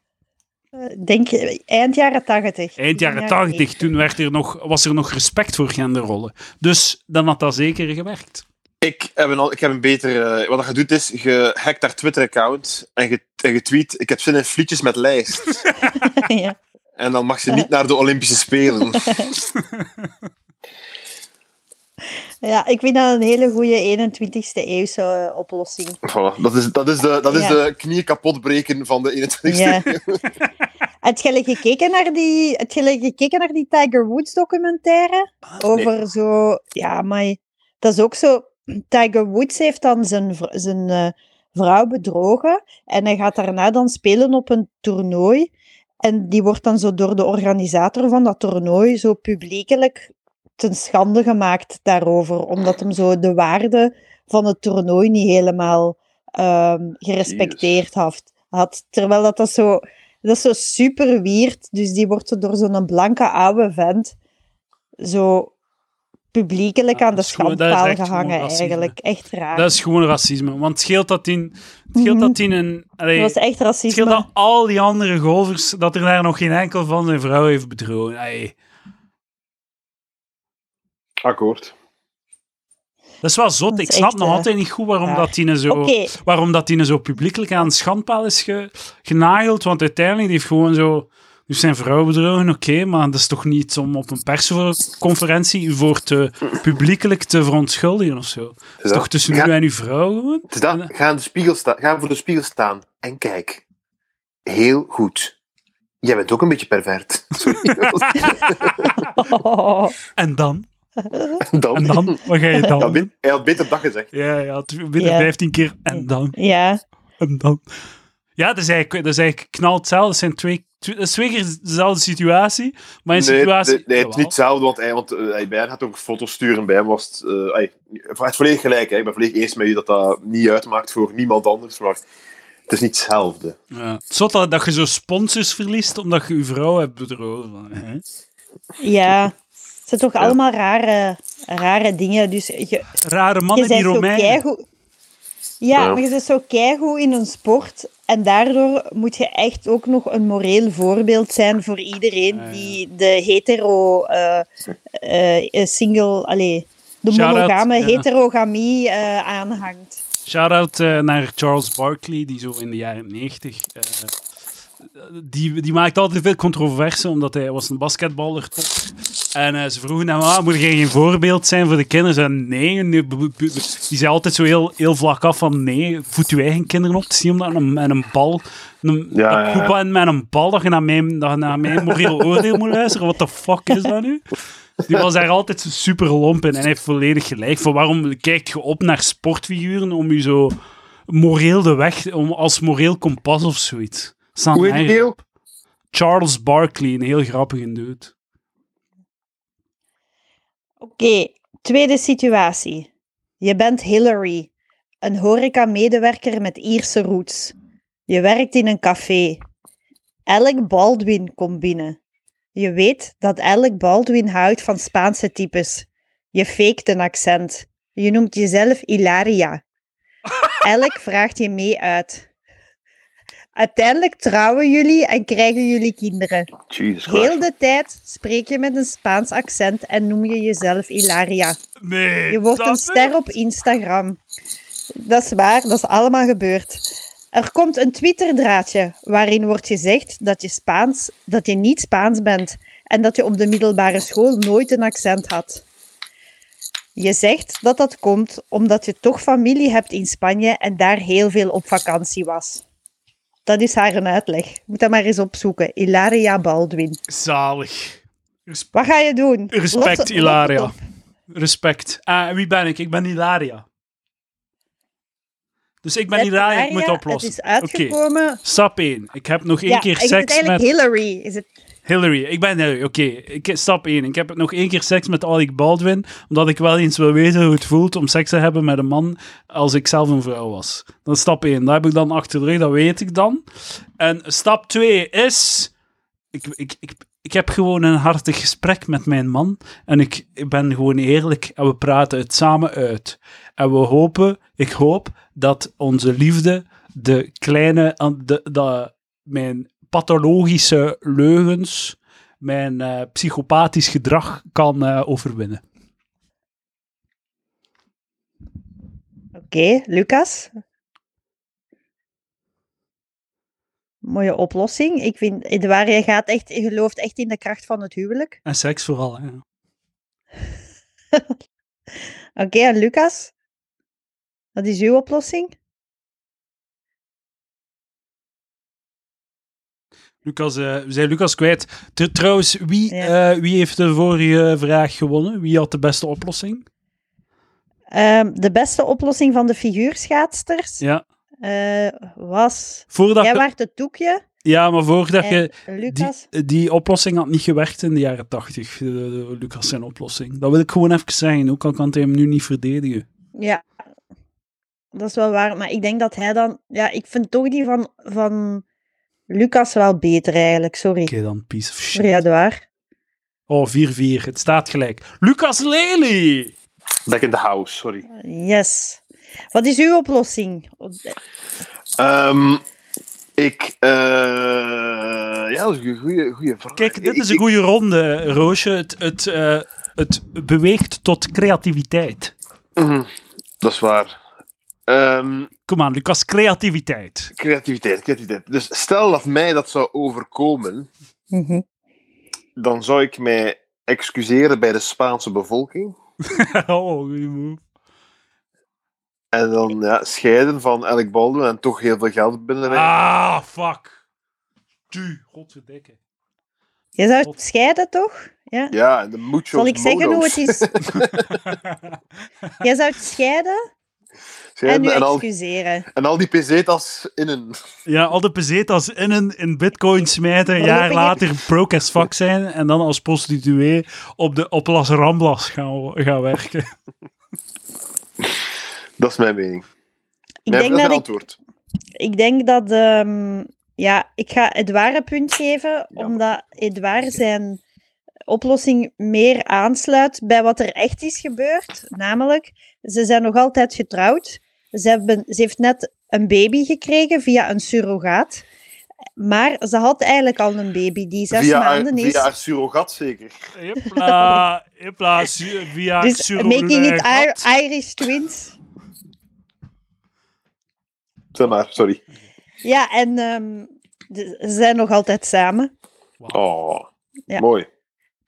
C: eh, Denk je, eind jaren tachtig.
B: Eind jaren 80, toen werd er nog, was er nog respect voor genderrollen. Dus dan had dat zeker gewerkt.
A: Ik heb een, al- ik heb een betere... eh, wat je doet is, je hackt haar Twitter-account en je, en je tweet, ik heb zin in flietjes met lijst.
C: <laughs>
A: <laughs>
C: ja.
A: en dan mag ze niet naar de Olympische Spelen.
C: Ja, ik vind dat een hele goede 21ste eeuwse eh, oplossing.
A: Voilà, dat is, dat is, de, dat is
C: Ja.
A: de knieën kapotbreken van de <laughs> 21 e
C: Ja. Had je gekeken naar die, had je gekeken naar die Tiger Woods documentaire? Over zo, ja, maar dat is ook zo. Tiger Woods heeft dan zijn, vr- zijn eh, vrouw bedrogen en hij gaat daarna dan spelen op een toernooi. En die wordt dan zo door de organisator van dat toernooi zo publiekelijk ten schande gemaakt daarover, omdat hem zo de waarde van het toernooi niet helemaal ehm, gerespecteerd had, had. Terwijl dat, dat zo dat is zo super weird. Dus die wordt zo door zo'n blanke oude vent zo publiekelijk
B: Ja,
C: aan de
B: dat is gewoon- dat is
C: schandpaal
B: echt gewoon
C: gehangen,
B: racisme.
C: eigenlijk. Echt raar.
B: Dat is gewoon racisme. Want het scheelt dat in, het scheelt dat in een... allee,
C: Mhm. Dat was echt
B: Het scheelt
C: racisme.
B: dat al die andere golfers, dat er daar nog geen enkel van zijn vrouw heeft bedrogen. Ai,
A: Akkoord.
B: dat is wel zot.
C: Dat is
B: Ik snap
C: echt,
B: nog
C: eh,
B: altijd niet goed waarom
C: raar.
B: dat die zo...
C: Oké,
B: Waarom dat die zo publiekelijk aan het schandpaal is ge- genageld. Want uiteindelijk die heeft gewoon zo... Dus zijn vrouw bedrogen, oké, maar dat is toch niet iets om op een persconferentie u voor te publiekelijk te verontschuldigen of zo. Dat is
A: dat-
B: toch tussen
A: Ja.
B: u en uw vrouw gewoon?
A: Het is dat,
B: eh,
A: ga, in de spiegel sta- ga voor de spiegel staan en kijk. Heel goed. Jij bent ook een beetje pervert. <laughs> Sorry.
B: <laughs> En dan?
A: dan,
B: En dan? Wat ga je
A: Hij had,
B: dan doen?
A: be- hij had beter dag gezegd.
B: Ja, ja, het- binnen
C: Ja.
B: 15 keer en dan.
C: ja.
B: En dan... Ja, dat is eigenlijk, dat is eigenlijk knal hetzelfde. Dat zijn twee Tw- Dat is twee keer dezelfde situatie, maar in
A: nee,
B: situatie...
A: nee, nee, het is niet
B: Jawel.
A: hetzelfde, want hij, want, eh, hij, bij hem had ook foto's sturen. Bij hem was het... eh, hij, hij heeft volledig gelijk. Hè. Ik ben volledig eens met je dat dat niet uitmaakt voor niemand anders. Maar het is niet hetzelfde.
B: Ja. Het is zot dat, dat je zo sponsors verliest, omdat je je vrouw hebt bedrogen. Van, hè?
C: Ja, het zijn toch
A: Ja.
C: allemaal rare, rare dingen. Dus je,
B: Rare
C: je
B: mannen
C: bent
B: die
C: zo
B: Romeinen.
C: keigoed... Ja,
A: Ja.
C: maar je bent zo keigoed in een sport. En daardoor moet je echt ook nog een moreel voorbeeld zijn voor iedereen
B: ja.
C: die de hetero... eh, eh, eh, single... Allee, de
B: Shout-out,
C: monogame
B: ja.
C: heterogamie eh, aanhangt.
B: Shout-out eh, naar Charles Barkley, die zo in de jaren 90. eh, die, die maakt altijd veel controverse, omdat hij was een basketballer top. En eh, ze vroegen hem, ah, moet jij geen voorbeeld zijn voor de kinderen? Ze zeiden, nee. nee, bu- bu- bu- Die zei altijd zo heel, heel vlak af van, nee, voed je eigen kinderen op. Het is niet omdat je een- met een bal, een
A: Ja,
B: dat
A: ja, ja.
B: Koepa en met een bal, dat je naar mijn, dat je naar mijn moreel oordeel moet luisteren. What the fuck is dat nu? Die was daar altijd zo super lomp in en hij heeft volledig gelijk. Van waarom kijk je op naar sportfiguren om je zo moreel de weg, om, als moreel kompas of zoiets? Staan
A: Hoe heet die
B: eigen-
A: deel?
B: Charles Barkley, een heel grappige dude.
C: Oké, tweede situatie. Je bent Hillary, een horeca-medewerker met Ierse roots. Je werkt in een café. Alec Baldwin komt binnen. Je weet dat Alec Baldwin houdt van Spaanse types. Je faked een accent. Je noemt jezelf Hilaria. Alec vraagt je mee uit. Uiteindelijk trouwen jullie en krijgen jullie kinderen.
A: Jesus
C: Heel de tijd spreek je met een Spaans accent en noem je jezelf Ilaria.
B: Nee,
C: Je wordt een ster op Instagram. Dat is waar, dat is allemaal gebeurd. Er komt een Twitterdraadje waarin wordt gezegd dat je, Spaans, dat je niet Spaans bent en dat je op de middelbare school nooit een accent had. Je zegt dat dat komt omdat je toch familie hebt in Spanje en daar heel veel op vakantie was. Dat is haar een uitleg. Moet dat maar eens opzoeken. Ilaria Baldwin.
B: Zalig. Res-
C: Wat ga je doen? Los-
B: respect,
C: los-
B: Ilaria. Respect. Ah, en wie ben ik? Ik ben Ilaria. Dus ik ben
C: Zet
B: Ilaria, ik
C: Ilaria,
B: moet oplossen.
C: Het is uitgekomen.
B: Stap 1. Ik heb nog één
C: Ja,
B: keer
C: is het
B: seks met
C: eigenlijk Hillary? Is het...
B: Hillary. Ik ben Hillary. Oké, ik- stap 1. Ik heb nog één keer seks met Alec Baldwin, omdat ik wel eens wil weten hoe het voelt om seks te hebben met een man als ik zelf een vrouw was. Dat is stap 1. Dat heb ik dan achter de rug, dat weet ik dan. En stap 2 is... Ik, ik, ik, ik heb gewoon een hartig gesprek met mijn man. En ik, ik ben gewoon eerlijk en we praten het samen uit. En we hopen, ik hoop, dat onze liefde de kleine... aan De, de, mijn pathologische leugens, mijn eh, psychopathisch gedrag kan eh, overwinnen.
C: Oké, Lucas. Mooie oplossing. Ik vind, Edouard, jij gaat echt, je gelooft echt in de kracht van het huwelijk.
B: En seks vooral. Hè.
C: Oké, en Lucas? Dat is uw oplossing?
B: Lucas, eh, we zijn Lucas kwijt. Tr- trouwens, wie,
C: Ja.
B: eh, wie heeft de vorige vraag gewonnen? Wie had de beste oplossing?
C: Ehm, de beste oplossing van de figuurschaatsters
B: Ja,
C: eh, was...
B: voordat
C: Jij
B: je-
C: waart het doekje
B: ja maar voordat je...
C: en Eh, Lucas...
B: Die, die oplossing had niet gewerkt in de jaren tachtig, eh, Lucas zijn oplossing. Dat wil ik gewoon even zeggen, ook al kan hij hem nu niet verdedigen.
C: Ja, dat is wel waar. Maar ik denk dat hij dan. Ja, ik vind toch die van, van Lucas wel beter eigenlijk. Sorry.
B: Oké dan, piece of shit.
C: Sorry, Edouard.
B: Oh, 4-4, het staat gelijk. Lucas Lely!
A: Back in the house, sorry.
C: Yes. Wat is uw oplossing?
A: Ehm, ik... eh, ja, dat is een goede, goede vraag.
B: Kijk, dit is
A: Ik-
B: een goede ronde, Roosje. Het, het, eh, het beweegt tot creativiteit.
A: Mhm, Dat is waar. Ehm,
B: Kom aan, Lucas, creativiteit. <laughs>
A: creativiteit, creativiteit. Dus stel dat mij dat zou overkomen,
C: Mhm.
A: dan zou ik mij excuseren bij de Spaanse bevolking.
B: oh, goeie move.
A: En dan ja, scheiden van Alec Baldwin en toch heel veel geld binnenrijden.
B: Ah, fuck. Tu, godverdikke.
C: Je zou scheiden toch? Ja.
A: Ja, en de mucho <laughs>
C: <laughs> Zal ik zeggen hoe het is? Jij zou scheiden? En
A: Schrijven
C: u
A: en, al,
C: excuseren.
A: en al die pesetas in een...
B: Ja, al de pesetas in een in bitcoin smijten, een jaar
C: Hopelijk.
B: later broke as fuck zijn en dan als prostituee op, de, op Las Ramblas gaan, gaan werken.
A: Dat is mijn mening.
C: Ik
A: mijn,
C: denk
A: is
C: dat
A: mijn
C: ik,
A: antwoord.
C: ik denk dat... ehm, ja, ik ga Edouard een punt geven,
A: maar-
C: omdat Edouard zijn oplossing meer aansluit bij wat er echt is gebeurd. Namelijk, ze zijn nog altijd getrouwd. Ze, hebben, ze heeft net een baby gekregen via een surrogaat. Maar ze had eigenlijk al een baby die zes
A: Via, haar-
C: maanden is.
A: via haar surrogat zeker.
B: <laughs> Hipla, hipla, Ah, su- via
C: Dus
B: Suro-
C: making it
B: eh,
C: Ir-
B: gat.
C: Irish twins.
A: Zeg maar, sorry.
C: Ja, en ehm, de- ze zijn nog altijd samen.
A: Oh,
C: Ja.
A: mooi.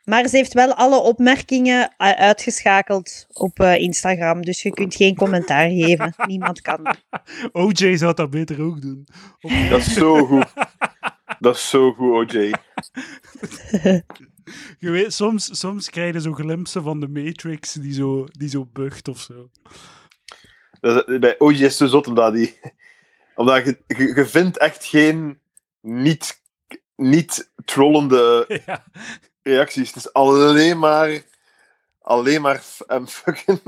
C: Maar ze heeft wel alle opmerkingen eh, uitgeschakeld op eh, Instagram. Dus je kunt geen commentaar geven. Niemand kan. Ah,
B: OJ zou dat beter ook doen.
A: Dat is zo goed. Dat is zo goed, OJ.
B: Je weet, soms, soms krijg je zo glimpsen van de Matrix die zo, die zo bugt of zo.
A: Dat is- Bij OJ is het zo zot, omdat, die, omdat je, je, je vindt echt geen niet, niet trollende
B: <laughs> Ja.
A: reacties. Het is alleen maar... Alleen maar f- en fucking...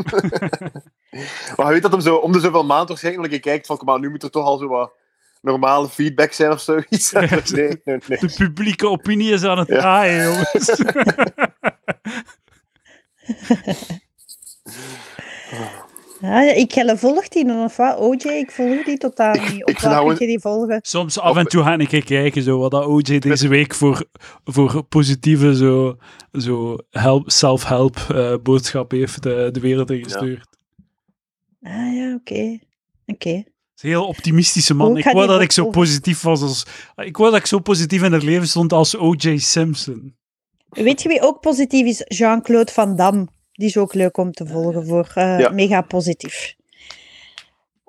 A: <laughs> maar je weet dat hem zo om de zoveel maanden waarschijnlijk een keer kijkt van... Kom maar, nu moet er toch al zo wat normale feedback zijn of zoiets. <laughs> nee, nee, nee.
B: De publieke opinie is aan het
A: Ja.
B: draaien, jongens.
C: Ja, ik Jelle, volgt die nog of wat? OJ, ik volg die totaal niet. Op
A: <laughs> ik
C: waar
A: zou
C: kun
A: een-
C: je die volgen?
B: <laughs> Soms af en toe ga ik kijken zo, wat dat OJ deze week voor, voor positieve zo, zo help, self-help eh, boodschap heeft eh, de wereld ingestuurd.
C: Ah ja, oké. Oké.
B: Het is een heel optimistische man.
C: Oh, ik
B: ik
C: ga
B: wou
C: die
B: dat
C: boek
B: ik zo
C: volgen.
B: positief was als... Ik wou dat ik zo positief in het leven stond als O.J. Simpson. <laughs>
C: Weet je wie ook positief is? Jean-Claude Van Damme. Die is ook leuk om te volgen voor eh,
A: Ja.
C: mega positief.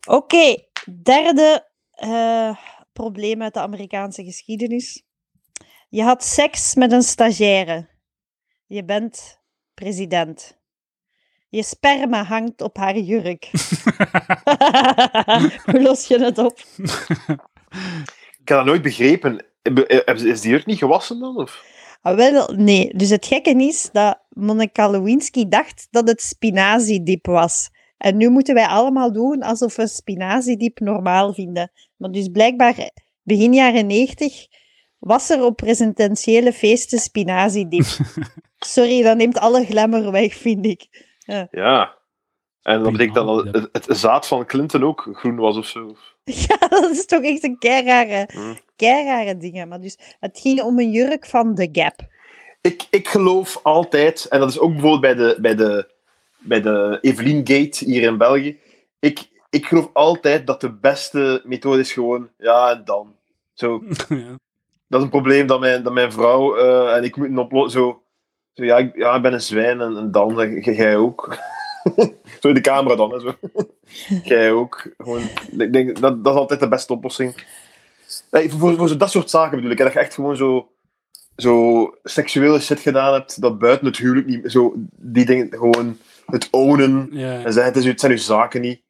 C: Oké, derde eh, probleem uit de Amerikaanse geschiedenis. Je had seks met een stagiaire. Je bent president. Je sperma hangt op haar jurk. <laughs> Hoe los je het op?
A: Ik heb dat nooit begrepen. Heb- heb- Is die jurk niet gewassen dan? Of?
C: Ah, wel, nee. Dus het gekke is dat Monica Lewinsky dacht dat het spinaziediep was. En nu moeten wij allemaal doen alsof we spinaziediep normaal vinden. Maar dus blijkbaar begin jaren 90 was er op presidentiële feesten spinaziediep.
B: <laughs>
C: Sorry, dat neemt alle glamour weg, vind ik. <laughs>
A: Ja. En dat
B: Prima,
A: betekent dat
B: ja.
A: het, het zaad van Clinton ook groen was of zo.
C: Ja, dat is toch echt een keirare,
A: Hm.
C: keirare dingen. Maar dus, het ging om een jurk van The Gap.
A: Ik, ik geloof altijd, en dat is ook bijvoorbeeld bij de, bij de, bij de Evelien Gate hier in België. Ik, ik geloof altijd dat de beste methode is gewoon, ja en dan. Zo,
B: ja.
A: dat is een probleem dat mijn, dat mijn vrouw eh, en ik moeten oplossen. Zo, zo ja, ik, ja, ik ben een zwijn en, en dan, zeg ik, jij ook. <laughs> zo in de camera dan, hè, zo. jij ook. Gewoon, ik denk, dat, dat is altijd de beste oplossing. Nee, voor, voor zo dat soort zaken bedoel ik. hè, Dat je echt gewoon zo, zo seksuele shit gedaan hebt, dat buiten het huwelijk niet... Zo, die dingen, gewoon het ownen.
B: Ja. Oh,
A: En zeggen, het, is, uw- het zijn uw zaken niet.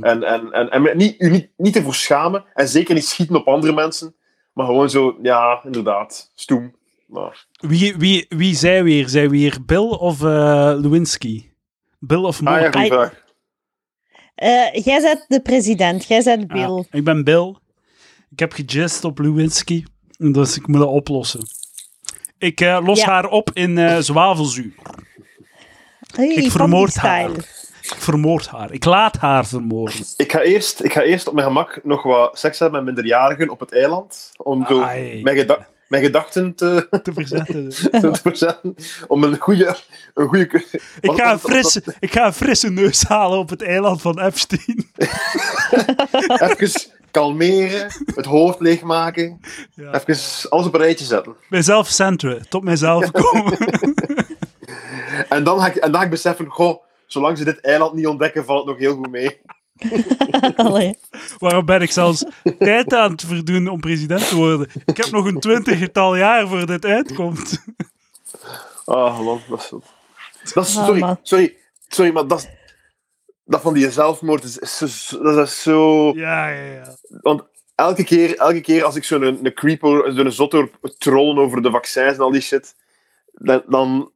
A: En, en, en, en niet, u niet, niet te voor schamen. En zeker niet schieten op andere mensen. Maar gewoon zo, ja, inderdaad. Stoem. Maar,
B: Wie, wie, wie zei weer? Zij weer Bill of eh, Lewinsky? Bill of
A: ah ja,
B: Monica?
A: goeie vraag.
C: Eh, jij bent de president, jij bent Bill.
B: Ah, ik ben Bill. Ik heb gejist op Lewinsky. Dus ik moet dat oplossen. Ik eh, los
C: Ja.
B: haar op in eh zwavelzuur.
C: Hey,
B: Ik
C: van
B: vermoord
C: die
B: haar.
C: style.
B: Ik vermoord haar. Ik laat haar vermoorden.
A: Ik ga, eerst, ik ga eerst op mijn gemak nog wat seks hebben met minderjarigen op het eiland. Om zo
B: Ai.
A: mijn, geda- mijn gedachten te, <laughs>
B: Te verzetten.
A: te verzetten. Om een goede... Een goede
B: Ik
A: Wat-
B: ga, een
A: wat-
B: frisse, ik ga een frisse neus halen op het eiland van Epstein.
A: Even kalmeren. Het hoofd leegmaken.
B: Ja.
A: Even alles op een rijtje zetten.
B: Mijzelf centeren. Tot mijzelf komen.
A: En dan ga ik, en dan ga ik beseffen... Goh, zolang ze dit eiland niet ontdekken, valt het nog heel goed mee.
C: <laughs> Allee.
B: Waarom ben ik
A: <laughs>
B: zelfs tijd aan het verdoen om president te worden? Ik heb nog een twintigtal jaar voor dit uitkomt.
A: Ah, man, dat is... Dat is
C: Ah,
A: sorry,
C: man.
A: sorry, sorry, maar dat is... dat van die zelfmoord is, is, is- dat is zo...
B: Ja, ja, ja.
A: Elke keer, elke keer als ik zo'n een creeper, zo'n zot hoor trollen over de vaccins en al die shit, dan, dan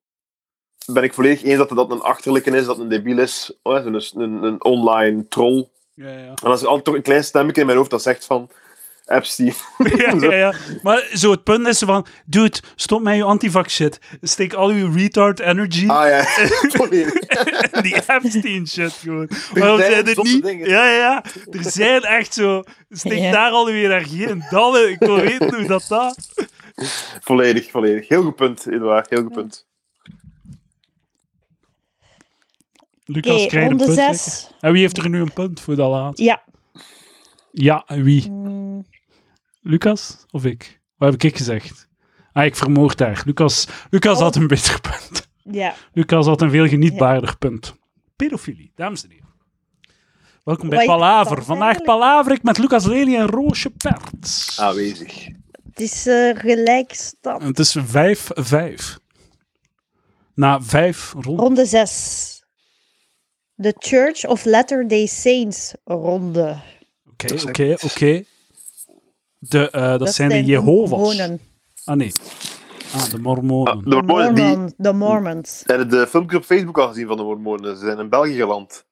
A: ben ik volledig eens dat dat een achterlijke is, dat een debiel is, oh, ja, zo'n- een, een online troll. <laughs>
B: Ja, ja.
A: En dan is er altijd toch een klein stemmetje in mijn hoofd dat zegt van...
C: <laughs>
A: Epstein.
B: ja, ja, ja. Maar zo het punt is van, dude, stop met je antivax shit. Steek al je retard energy
A: Ah ja, <laughs> volledig.
B: in die Epstein shit
A: <laughs>
B: gewoon.
A: Er
B: Waarom
A: zijn
B: zijn er
A: zotte
B: niet?
A: dingen.
B: Ja, ja, ja. Er zijn echt zo. Steek
C: Ja.
B: daar al uw energie in. Dan, eh, ik wil weten hoe dat dat.
A: volledig, volledig. Heel goed punt, Eduard. Heel goed punt.
B: Lucas
C: Oké,
B: krijgt een
C: ronde
B: punt. hè.
C: 6.
B: En wie heeft er nu een punt voor dat laat?
C: Ja.
B: Ja, en wie?
C: Mm.
B: Lucas of ik? Wat heb ik gezegd? Ah, ik vermoord daar. Lucas, Lucas
C: Oh.
B: had een beter punt.
C: Ja,
B: Lucas had een veel genietbaarder punt. Pedofilie, dames en heren. Welkom bij
C: Wat is
B: Palaver.
C: dat
B: Vandaag
C: eigenlijk?
B: Palaver ik met Lucas Lely en Roosje Perts.
A: Aanwezig.
C: het is eh, gelijkstand.
B: Het is 5-5. Na vijf ronden.
C: Ronde 6. The Church of Latter-day Saints ronde.
B: Oké, oké, oké. De, eh, dat, zijn de
C: de
B: Jehovah's.
C: Mormonen.
B: Ah, nee. Ah, de Mormonen.
A: Ah, de
C: De
A: Mormonen, die...
C: Mormon, de Mormons.
A: Hebben de filmpje op Facebook al gezien van de Mormonen? Ze zijn in België geland.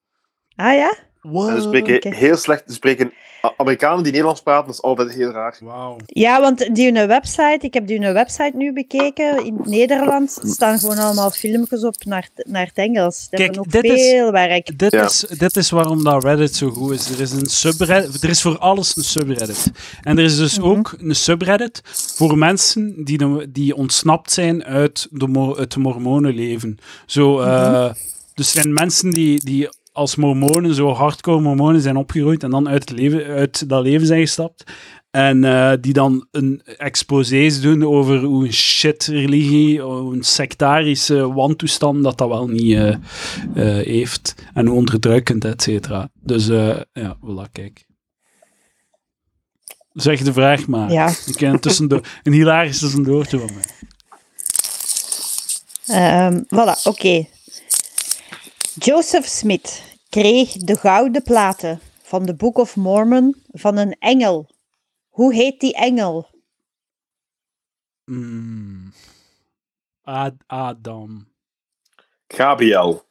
C: Ah ja?
A: en ze spreken
C: oké.
A: heel slecht. Ze spreken A- Amerikanen die Nederlands praten, dat is altijd heel raar.
B: Wauw.
C: Ja, want die hun website, ik heb die hun website nu bekeken. In het Nederland staan gewoon allemaal filmpjes op naar, naar het Engels. Ze
B: Kijk,
C: hebben ook
B: dit is-
C: veel werk.
B: Dit,
A: Ja.
B: is, dit is waarom dat Reddit zo goed is. Er is, een subreddit, er is voor alles een subreddit. En er is dus ook een subreddit voor mensen die, de- die ontsnapt zijn uit de, mo- het mormonenleven. Zo, eh, Dus er zijn mensen die, die als mormonen, zo hardcore mormonen, zijn opgeroeid en dan uit, het leven, uit dat leven zijn gestapt. En eh, die dan een exposés doen over hoe een shit-religie, hoe een sectarische wantoestand dat dat wel niet eh, eh, heeft. En hoe onderdrukkend, et cetera. Dus eh, ja, voilà, kijk. Zeg de vraag maar.
C: Ja.
B: Ik ken tussendoor,
C: <laughs>
B: een hilarisch tussendoortje van mij.
C: Ehm, voilà, oké. Joseph Smith kreeg de gouden platen van de Book of Mormon van een engel. Hoe heet die engel?
B: Mm. Ad- Adam. <gasps>
A: Gabriel.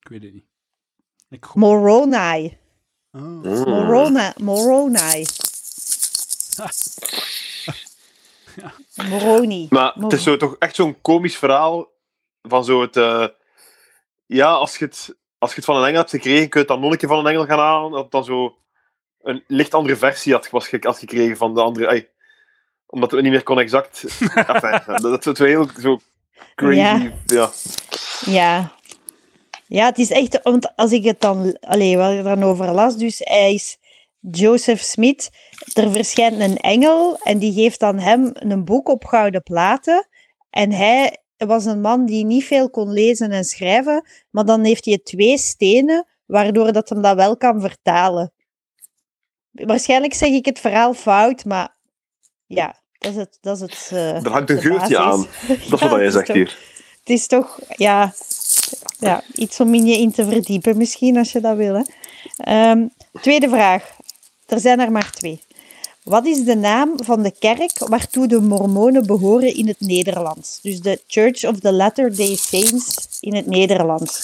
B: Ik weet het niet. Ik go-
C: Moroni.
B: Ah.
A: Mm.
C: Morona, Moroni. Moroni.
A: Maar het is zo, toch echt zo'n komisch verhaal van zo het... eh, ja, als je het, als je het van een engel hebt gekregen, kun je het dan nog een keer van een engel gaan halen. Dat het dan zo een licht andere versie had, was, ge- had gekregen van de andere... ai, omdat we niet meer kon
C: <laughs>
A: exact... Enfin, dat- dat is zo heel zo crazy...
C: Ja.
A: ja.
C: Ja. Ja, het is echt, want als ik het dan, allee, wat ik dan over las, dus hij is Joseph Smith, er verschijnt een engel en die geeft dan hem een boek op gouden platen. En hij was een man die niet veel kon lezen en schrijven, maar dan heeft hij twee stenen, waardoor dat hem dat wel kan vertalen. Waarschijnlijk zeg ik het verhaal fout, maar ja, dat is het. Dat is het eh,
A: Er hangt een
C: de
A: geurtje
C: basis.
A: aan. Dat is
C: <laughs> Ja,
A: wat jij
C: het
A: zegt
C: toch-
A: hier.
C: het is toch ja, ja, iets om in je in te verdiepen, misschien als je dat wil. Hè. Ehm, tweede vraag. Er zijn er maar twee. Wat is de naam van de kerk waartoe de Mormonen behoren in het Nederlands? Dus de Church of the Latter-day Saints in het Nederlands.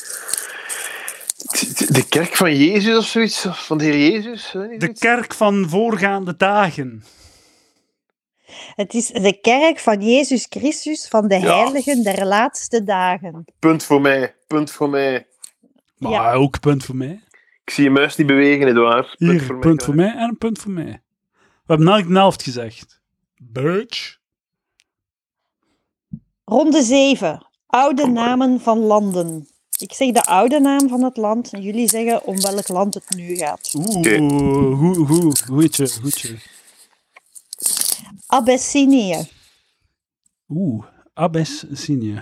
A: De de kerk van Jezus of zoiets? Of Van de Heer Jezus? Weet niet
B: De
A: zoiets?
B: kerk van voorgaande dagen.
C: Het is de kerk van Jezus Christus van de heiligen der laatste dagen.
A: Punt voor mij. Punt voor mij.
B: Maar
C: Ja.
B: ook punt voor mij.
A: Ik zie je muis niet bewegen, Edouard.
B: Hier, punt, voor,
A: krijg.
B: mij en een punt voor mij. We hebben elk de helft gezegd. Birch.
C: Ronde 7. Oude namen van landen. Ik zeg de oude naam van het land en jullie zeggen om welk land het nu gaat.
B: Oeh,
A: Oké.
B: hoe, hoe, goeitje, goeitje.
C: Abyssinië.
B: Oeh, Abyssinie.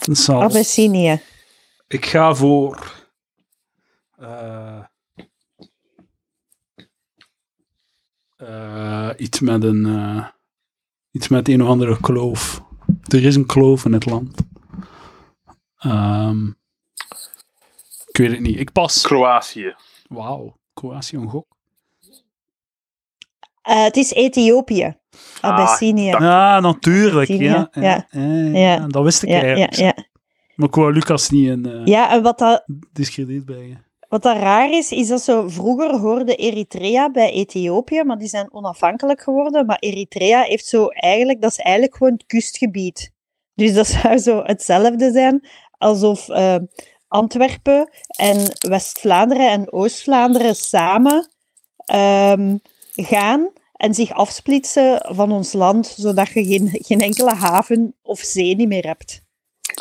B: Dat zal-
C: Abyssinië.
B: Ik ga voor... eh, eh, iets met een... eh, iets met een of andere kloof. Er is een kloof in het land. Ehm, Ik weet het niet. Ik pas.
A: Kroatië.
B: Wauw. Kroatië een gok.
C: Eh, het is Ethiopië.
B: Ah,
C: Abyssinia.
A: dat-
B: Ja, natuurlijk. Ja,
C: Argentinië,
B: ja,
C: ja.
B: ja,
C: Ja.
B: ja. Dat wist ik
C: ja, ja,
B: eigenlijk.
C: ja.
B: Maar ik wou Lucas niet in eh
C: ja, en wat dat,
B: discrediet brengen.
C: Wat dat raar is, is dat zo vroeger hoorde Eritrea bij Ethiopië, maar die zijn onafhankelijk geworden. Maar Eritrea heeft zo eigenlijk, dat is eigenlijk gewoon het kustgebied. Dus dat <laughs> zou zo hetzelfde zijn alsof eh, Antwerpen en West-Vlaanderen en Oost-Vlaanderen samen ehm, gaan en zich afsplitsen van ons land, zodat je geen, geen enkele haven of zee niet meer hebt.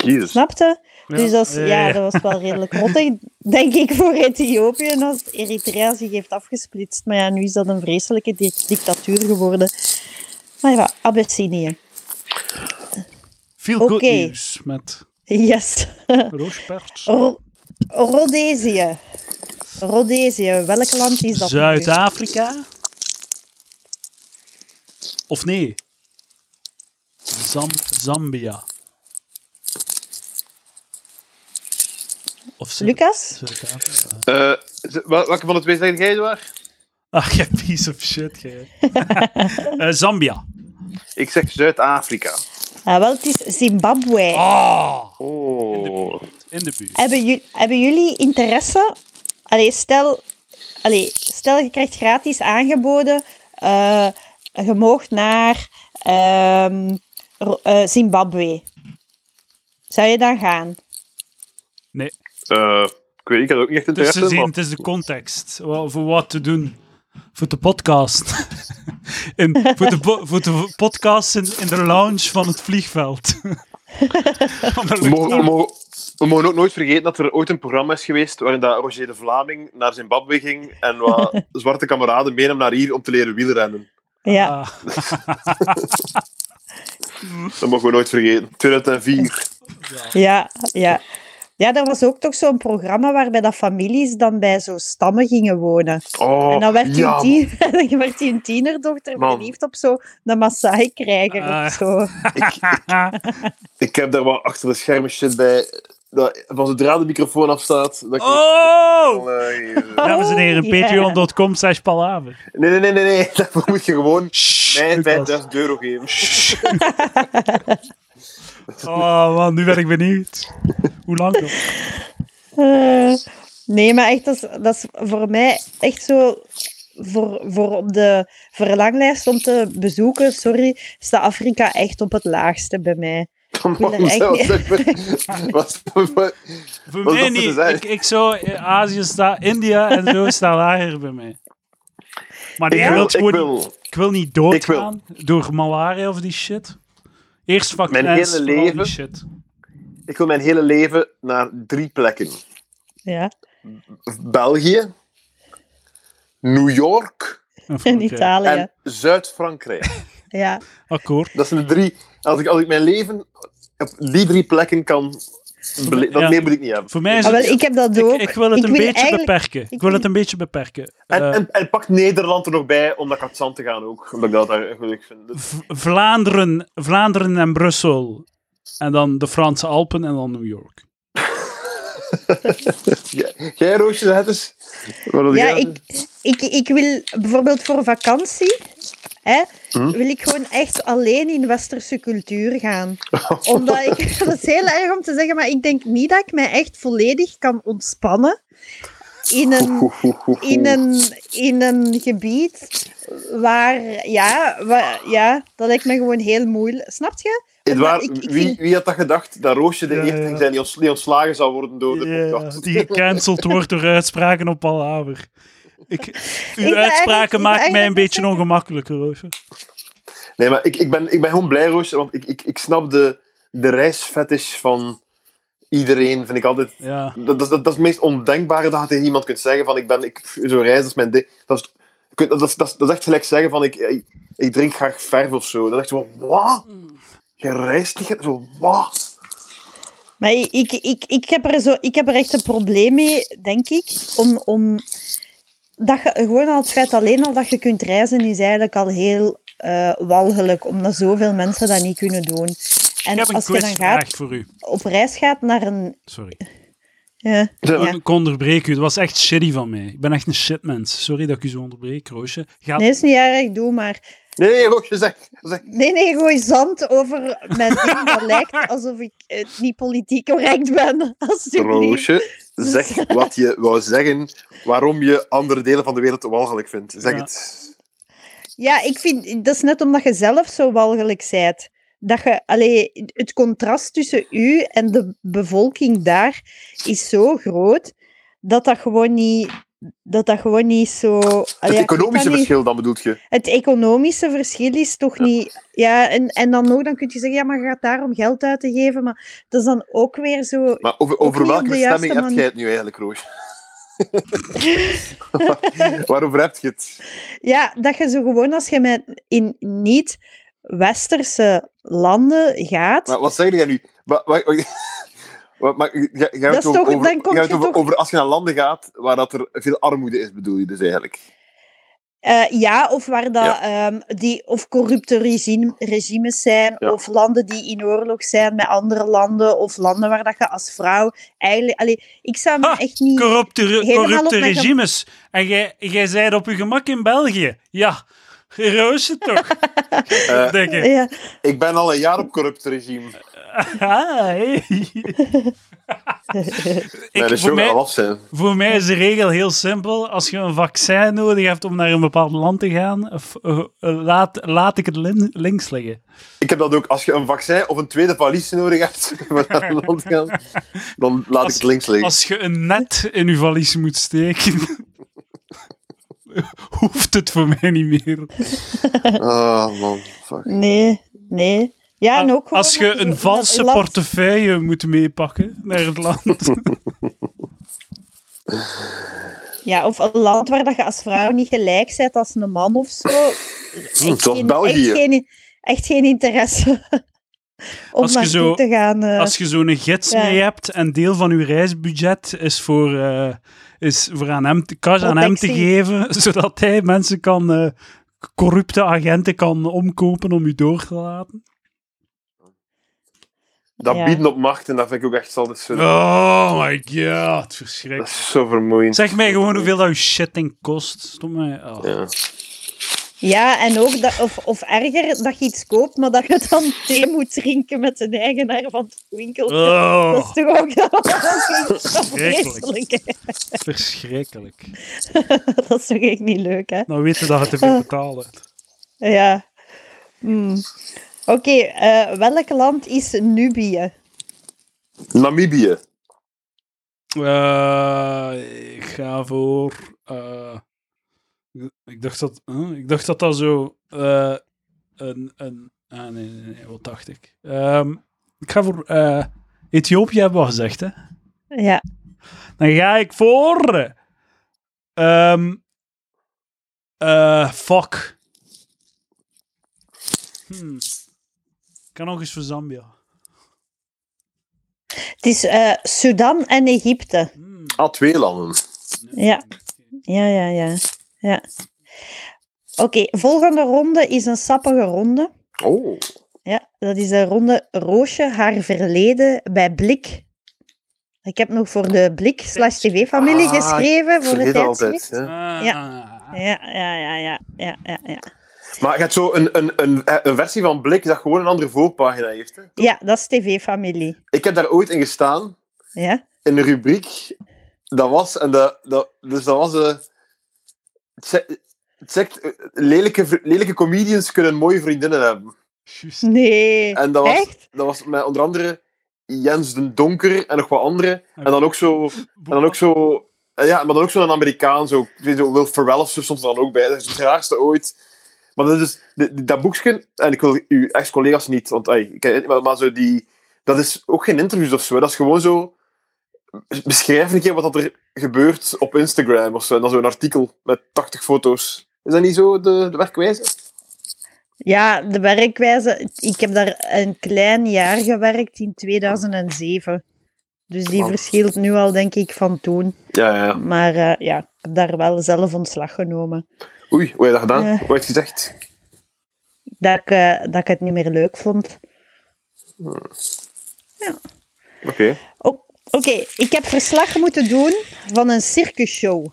A: Jezus.
C: Snapte?
B: Ja.
C: Dus dat, is,
B: Ja,
C: ja,
B: ja.
C: dat
B: <laughs>
C: was wel redelijk rottig, denk ik, voor Ethiopië als Eritrea zich heeft afgesplitst. Maar ja, nu is dat een vreselijke di- dictatuur geworden. Maar ja, Abyssinië.
B: Veel goed
C: Oké.
B: nieuws met
C: Yes.
B: roospers.
C: Ro- Rhodesië. Rhodesië, welk land is dat? nu?
B: Zuid-Afrika? Of nee? Zam- Zambia. Of Zuid-
C: Lucas?
B: Zuid-Afrika.
A: Eh, ze- wel- welke van de twee zeg jij, waar?
B: Ach, je Ah, piece of shit, gij.
C: <laughs>
B: Eh, Zambia.
A: Ik zeg Zuid-Afrika.
C: Ah, wel, het is Zimbabwe.
B: Ah!
A: Oh.
B: In de buurt.
C: Hebben, ju- hebben jullie interesse? Allee, stel, allee, stel, je krijgt gratis aangeboden. eh, je mag naar ehm, Ro- eh, Zimbabwe. Zou je dan gaan?
B: Nee,
A: Eh, ik weet niet, ik had ook niet echt
B: het is,
A: interesse.
B: te Dus zien,
A: Maar...
B: het is de context. Wel, Voor wat te doen. Voor de podcast. <laughs> In, voor, de po- voor de podcast in, in de lounge van het vliegveld. <laughs> Van de
A: We mogen, we,
B: luchthaven.
A: mogen, we mogen ook nooit vergeten dat er ooit een programma is geweest waarin dat Roger de Vlaming naar Zimbabwe ging en
B: <laughs>
A: wat zwarte kameraden meenam naar hier om te leren wielrennen.
C: Ja.
B: Ah, <laughs>
A: Dat mogen we nooit vergeten. 2004.
C: Ja, ja. Ja, er was ook toch zo'n programma waarbij dat families dan bij zo stammen gingen wonen.
A: Oh,
C: en dan werd,
A: ja,
C: hun tien, <laughs> dan werd hun tienerdochter
A: Man.
C: verliefd op zo'n Maasai-krijger
B: Ah.
C: of zo.
A: Ik heb daar wel achter de schermen shit bij. Dat, van zodra de microfoon afstaat. Dat ik
B: Oh!
A: Nee,
B: Dames en heren,
C: Oh, ja.
B: patreon.com slash palaver.
A: nee, nee, nee, <laughs> nee. Daarvoor moet je gewoon mij
B: Lucas.
A: 5000 euro geven.
B: Oh man, nu ben ik benieuwd. Hoe lang nog?
C: Eh, nee, maar echt, dat is, dat is voor mij echt zo. Voor, voor op de verlanglijst om te bezoeken, sorry, staat Afrika echt op het laagste bij mij.
A: Dan
C: wil er
A: mogen ze-
C: echt
A: <laughs> wat- wat- wat- wat-
B: Voor
A: Wat is dat
B: mij
A: voor
B: niet.
A: te zijn?
B: Ik, ik zou eh, Azië staan, India en zo staan lager bij mij. Maar nee,
A: Ik
B: ik,
A: wil,
B: wil,
A: ik
B: gewoon niet-
A: wil.
B: ik wil niet doodgaan door malaria of die shit. Eerst vaccins,
A: Mijn hele
B: vooral die
A: leven-
B: shit.
A: Ik wil mijn hele leven naar drie plekken:
C: Ja,
A: België, New York
B: En
C: in
B: Frankrijk.
C: Italië.
A: en Zuid-Frankrijk.
C: Ja.
B: Dus Akkoord.
A: Dat zijn de drie. Als ik, als ik mijn leven op die drie plekken kan. bele- Dat
B: Ja.
A: meer moet ik niet hebben.
B: Voor mij is
C: Ah,
B: het...
C: wel, ik heb dat ook.
B: Ik, ik wil het een beetje
C: eigenlijk-
B: beperken. Ik, wil
C: ik wil-
B: het een beetje beperken.
A: En,
B: Eh,
A: en, en pak Nederland er nog bij om naar Katzand te gaan ook. Omdat ik dat daar gelukkig vind. Dus-
B: V- Vlaanderen, Vlaanderen en Brussel. En dan de Franse Alpen en dan New York.
A: Ja. Jij, Roosje, dat is. Wat wil
C: Ja,
A: jij?
C: ik, ik, ik wil bijvoorbeeld voor vakantie, hè, wil ik gewoon echt alleen in westerse cultuur gaan. Omdat ik, <laughs> dat is heel erg om te zeggen, maar ik denk niet dat ik mij echt volledig kan ontspannen in een, in een, in een gebied waar, ja, waar, ja, dat lijkt me gewoon heel moeilijk. Snap je?
A: Edouard,
C: ik- ik
A: wie,
C: vind-
A: wie had dat gedacht? Dat Roosje de
B: Ja,
A: eerste
B: ja.
A: ging zijn die, ons, die ontslagen zou worden door de podcast.
B: die
A: <laughs>
B: gecanceld wordt door uitspraken op Palaver. Ik, uw
C: ben eigenlijk- ik
B: uitspraken maken
C: ben
B: mij een
C: eigenlijk
B: beetje ongemakkelijk, Roosje.
A: Nee, maar ik, ik, ben, ik ben gewoon blij, Roosje, want ik, ik, ik snap de, de reisfetish van iedereen. Vind ik altijd...
B: Ja.
A: Dat, dat, dat is het meest ondenkbare dat je tegen iemand kunt zeggen van ik ben... Ik, zo'n reis, dat is mijn ding. Dat is, ik weet- dat, is, dat, is, dat is echt gelijk zeggen van ik, ik, ik drink graag verf of zo. Dan dacht je van, wat? Je reist niet? Zo, wat?
C: Maar ik, ik, ik, ik, heb er zo, ik heb er echt een probleem mee, denk ik. Om, om, dat je, gewoon al het feit alleen al dat je kunt reizen, is eigenlijk al heel eh, walgelijk. Omdat zoveel mensen dat niet kunnen doen.
B: Ik
C: En
B: heb een
C: als je dan
B: quizvraag
C: gaat,
B: voor u.
C: op reis gaat naar een...
B: Sorry.
C: Ja.
A: Ja.
B: Ik onderbreek u. Dat was echt shitty van mij. Ik ben echt een shitmens. Sorry dat ik u zo onderbreek, Roosje. Gaat...
C: Nee, is niet erg, doe maar.
A: Nee, Roosje, zeg, zeg.
C: Nee, nee, gooi zand over mijn ding. Dat lijkt alsof ik eh, niet politiek correct ben. <laughs> Alsjeblieft.
A: Roosje, zeg
C: <laughs>
A: wat je wou zeggen, waarom je andere delen van de wereld walgelijk vindt. Zeg
C: Ah
B: Ja.
A: het.
C: Ja, ik vind, dat is net omdat je zelf zo walgelijk bent. Dat je, allee, het contrast tussen u en de bevolking daar is zo groot, dat dat gewoon niet, dat dat gewoon niet zo...
A: Het
C: allee, ik
A: economische
C: kan niet-
A: verschil, dan bedoelt je?
C: het economische verschil is toch niet... Ja, en, en dan nog, dan kun je zeggen, ja, maar je gaat daar om geld uit te geven, maar dat is dan ook weer zo...
A: Maar over,
C: Ook
A: over
C: niet op
A: welke
C: de
A: bestemming heb
C: juiste manier.
A: jij het nu eigenlijk, Roosje? <laughs> Waarover heb je het?
C: Ja, dat je zo gewoon, als je met in niet-westerse landen gaat...
A: Maar wat zeg jij nu? Wat, wat, wat, wat- <laughs> maar, jij- jij hebt
C: is
A: het
C: toch-
A: over,
C: dan kom
A: jij hebt
C: je
A: het over,
C: toch-
A: over als je naar landen gaat waar dat er veel armoede is, bedoel je dus eigenlijk?
C: Eh, ja, of waar dat,
A: Ja.
C: ehm, die of corrupte regime, regimes zijn,
A: Ja.
C: of landen die in oorlog zijn met andere landen, of landen waar dat je als vrouw eigenlijk. Allee, ik zou me
B: Ha,
C: echt niet.
B: Corrupte, re-
C: Helemaal
B: corrupte
C: op mijn gem-
B: regimes. En jij, jij zei op uw gemak in België. Ja, Roosje toch?
A: Eh,
B: Denk ik.
C: <laughs> Ja,
A: ik ben al een jaar op corrupt regime.
B: Ah,
C: <laughs>
B: hey.
A: Mijn
B: ik, voor,
A: show gaat
B: mij,
A: al af zijn.
B: voor mij is de regel heel simpel. Als je een vaccin nodig hebt om naar een bepaald land te gaan, f- eh, laat, laat ik het lin- links liggen.
A: Ik heb dat ook. Als je een vaccin of een tweede valies nodig hebt <laughs> om naar een land te gaan, dan laat
B: Als-
A: ik het links liggen.
B: Als je een net in je valies moet steken, <laughs> hoeft het voor mij niet meer.
A: Ah, man. Fuck.
C: nee, nee. Ja, en ook gewoon
B: Ah, Als
C: dat
B: je
C: zo-
B: een valse
C: land-
B: portefeuille moet meepakken naar het
C: <laughs>
B: land.
C: Ja, of een land waar dat je als vrouw niet gelijk bent als een man of zo. Echt
A: Zoals
C: geen,
A: Hm, België.
C: Echt geen, echt geen interesse <laughs> om
B: Als je
C: naartoe
B: zo-
C: te gaan. eh.
B: Als je zo'n gids
C: Ja.
B: mee hebt en deel van je reisbudget is voor, eh, is voor aan hem te, cash aan hem te
C: Protectie.
B: geven, <laughs> zodat hij mensen kan, eh, corrupte agenten kan omkopen om u door te laten.
A: Dat
C: Ja.
A: bieden op macht, en dat vind ik ook echt altijd zo,
B: Oh my god,
A: dat
B: verschrikkelijk.
A: is zo vermoeiend.
B: Zeg mij gewoon hoeveel dat je shitting kost. Stop mij. oh.
A: Ja.
C: Ja, en ook dat, of, of erger dat je iets koopt, maar dat je dan <laughs> thee moet drinken met de eigenaar van het winkeltje.
B: <laughs> Oh,
C: Dat is toch ook <laughs>
B: <laughs>
C: dat is toch
B: Verschrikkelijk.
C: vreselijk, hè? <laughs>
B: verschrikkelijk.
C: Dat is toch echt niet leuk, hè?
B: Nou weten dat je te veel betalen hebt.
C: Ja. Hmm. Oké, eh, welk land is Nubië?
A: Namibië.
B: Eh, ik ga voor. eh, ik, dacht dat, huh? ik dacht dat dat zo. eh, een, een, ah, nee, nee, nee, wat dacht ik? Ehm, ik ga voor. eh, Ethiopië hebben we al gezegd, hè?
C: Ja,
B: Dan ga ik voor. ehm, eh, fuck. Hmm. Ik kan nog eens voor Zambia.
C: het is eh Sudan en Egypte.
B: Hmm.
A: Ah, twee landen.
C: Ja. Ja, ja, ja. ja. Oké, volgende ronde is een sappige ronde.
A: Oh.
C: Ja, dat is de ronde Roosje, haar verleden bij Blik. Ik heb nog voor de Blik slash TV-familie
A: Ah, ik
C: geschreven. Voor
A: Vergeet
C: het
A: dat altijd.
C: tijdschrift.
A: hè.
B: Ja.
C: Ja, ja, ja, ja, ja, ja, ja.
A: Maar je hebt zo een, een, een, eh, een versie van Blik dat gewoon een andere voorpagina heeft. Hè.
C: Ja, dat is TV-familie.
A: Ik heb daar ooit in gestaan,
C: Ja?
A: in een rubriek. Dat was, en dat, dat, dus dat was... eh, het ze- het zegt, eh, lelijke, vri- lelijke comedians kunnen mooie vriendinnen hebben.
B: Juist.
C: Nee.
A: En dat was,
C: Echt?
A: dat was met onder andere Jens den Donker en nog wat anderen. En dan ook zo... En dan ook zo... eh, Ja, maar dan ook zo'n Amerikaan, zo, ik weet zo Will Ferrell of zo, stond er dan ook bij. Dat is het raarste ooit. Maar dat is... dus, de- de- Dat boekje... En ik wil uw ex-collega's niet... Want, ai, ik ken het niet, maar, maar zo die... Dat is ook geen interviews of zo. hè. Dat is gewoon zo... Beschrijf een keer wat dat er gebeurt op Instagram of zo. En dan zo'n artikel met 80 foto's. Is dat niet zo, de, de werkwijze?
C: Ja, de werkwijze. Ik heb daar een klein jaar gewerkt in 2007. Dus die
A: Oh.
C: verschilt nu al, denk ik, van toen.
A: Ja, ja, ja.
C: Maar eh, ja, ik heb daar wel zelf ontslag genomen.
A: Oei, hoe heb je dat gedaan?
C: Ja.
A: Hoe heb je het gezegd?
C: Dat ik, eh, dat ik het niet meer leuk vond.
A: Oké.
C: Ook- Oké, Oké, ik heb verslag moeten doen van een circusshow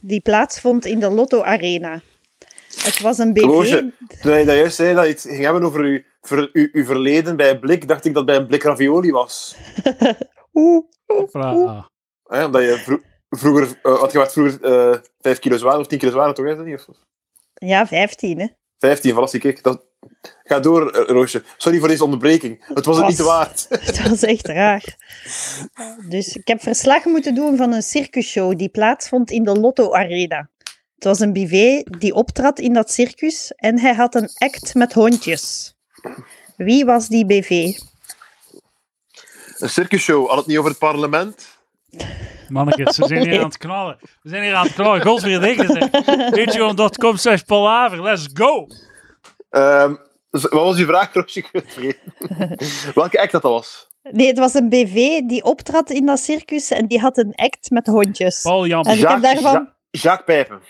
C: die plaatsvond in de Lotto Arena. Het was een BV.
A: Roosje, Toen je dat juist zei, dat je het ging hebben over uw, ver- uw, uw verleden bij Blik, dacht ik dat het bij een Blik ravioli was.
C: Oeh,
B: Voilà.
A: Hè, omdat je vro- vroeger, eh, had je wat vroeger eh 5 kilo zwaar of 10 kilo zwaar, toch? Is dat niet? Of-
C: Ja, 15, hè. <laughs>
A: 15, voilà, zie ik. Dat... Ga door, eh, Roosje. Sorry voor deze onderbreking. Het was het niet
C: Was.
A: waard.
C: Dat was echt raar. Dus ik heb verslag moeten doen van een circusshow die plaatsvond in de Lotto Arena. Het was een bivet die optrad in dat circus en hij had een act met hondjes. Wie was die BV?
A: <laughs> Een circusshow, had het niet over het parlement?
B: Mannetjes, we zijn hier
C: Nee.
B: aan het knallen. We zijn hier aan het knallen. Godver dikke
C: <laughs>
B: zeg. Patreon.com slash palaver. Let's go.
A: Ehm, z- wat was uw vraag, Roosje? Ik heb het
C: <laughs>
A: vergeten. Welke act dat dat was?
C: Nee, het was een BV die optrad in dat circus en die had een act met hondjes. Ik
B: Paul Jan.
C: En- ik heb daarvan-
A: Ja- Jacques Pijpen.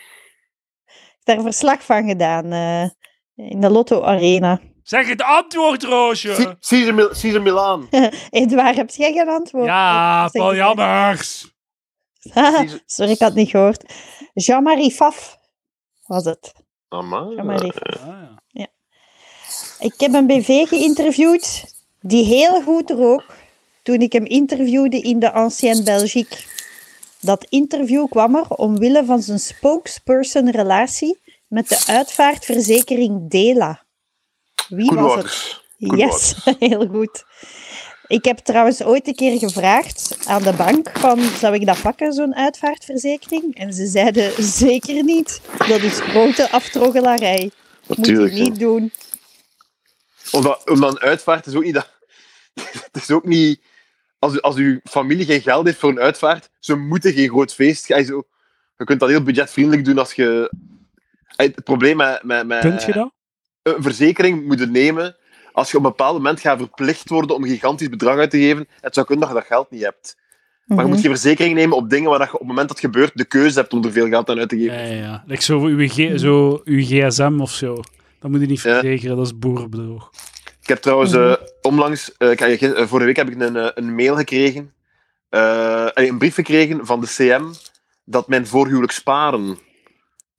C: heb daar verslag van gedaan eh, in de Lotto Arena.
B: Zeg het antwoord,
A: Si-
B: Roosje.
A: Caesar, Mil- Caesar Milaan.
C: Edouard, heb jij geen antwoord?
B: Ja,
C: Ik zeg
B: Paul
C: het
B: Jammers.
C: niet. <laughs> Sorry, ik had het niet gehoord. Jean-Marie Faf was het.
A: Amai.
C: Jean-Marie
B: Ah,
C: Ik heb een BV geïnterviewd die heel goed rook toen ik hem interviewde in de Ancienne Belgique. Dat interview kwam er omwille van zijn spokesperson-relatie met de uitvaartverzekering Dela. Wie
A: Koen
C: was het?
A: Wouters. Koen
C: Yes, <laughs> heel goed. Ik heb trouwens ooit een keer gevraagd aan de bank van zou ik dat pakken, zo'n uitvaartverzekering? En ze zeiden zeker niet. Dat is grote aftroggelarij. Moet je
A: Natuurlijk, ja.
C: niet doen.
A: Omdat, omdat een uitvaart is ook niet dat... <laughs> Het is ook niet... Als, u- als uw familie geen geld heeft voor een uitvaart, ze moeten geen groot feest... Gij zo- Je kunt dat heel budgetvriendelijk doen als je... Hey, Het probleem met, met, met
B: Kunt je dat?
A: een verzekering moeten nemen als je op een bepaald moment gaat verplicht worden om een gigantisch bedrag uit te geven. Het zou kunnen dat je dat geld niet hebt. Maar je moet
B: Mhm.
A: geen verzekering nemen op dingen waar dat je op het moment dat het gebeurt de keuze hebt om er veel geld aan uit te
B: Ja,
A: geven.
B: ja. ja. Like zo, uw
C: Hm.
B: G- zo uw gsm of zo. Dat moet je niet
A: Ja.
B: verzekeren, dat is boerenbedrog.
A: Ik heb trouwens
C: Mhm.
A: eh, onlangs, eh, ik had je gis- eh, vorige week heb ik een, eh, een mail gekregen, eh, nee, een brief gekregen van de CM dat mijn voorhuwelijk sparen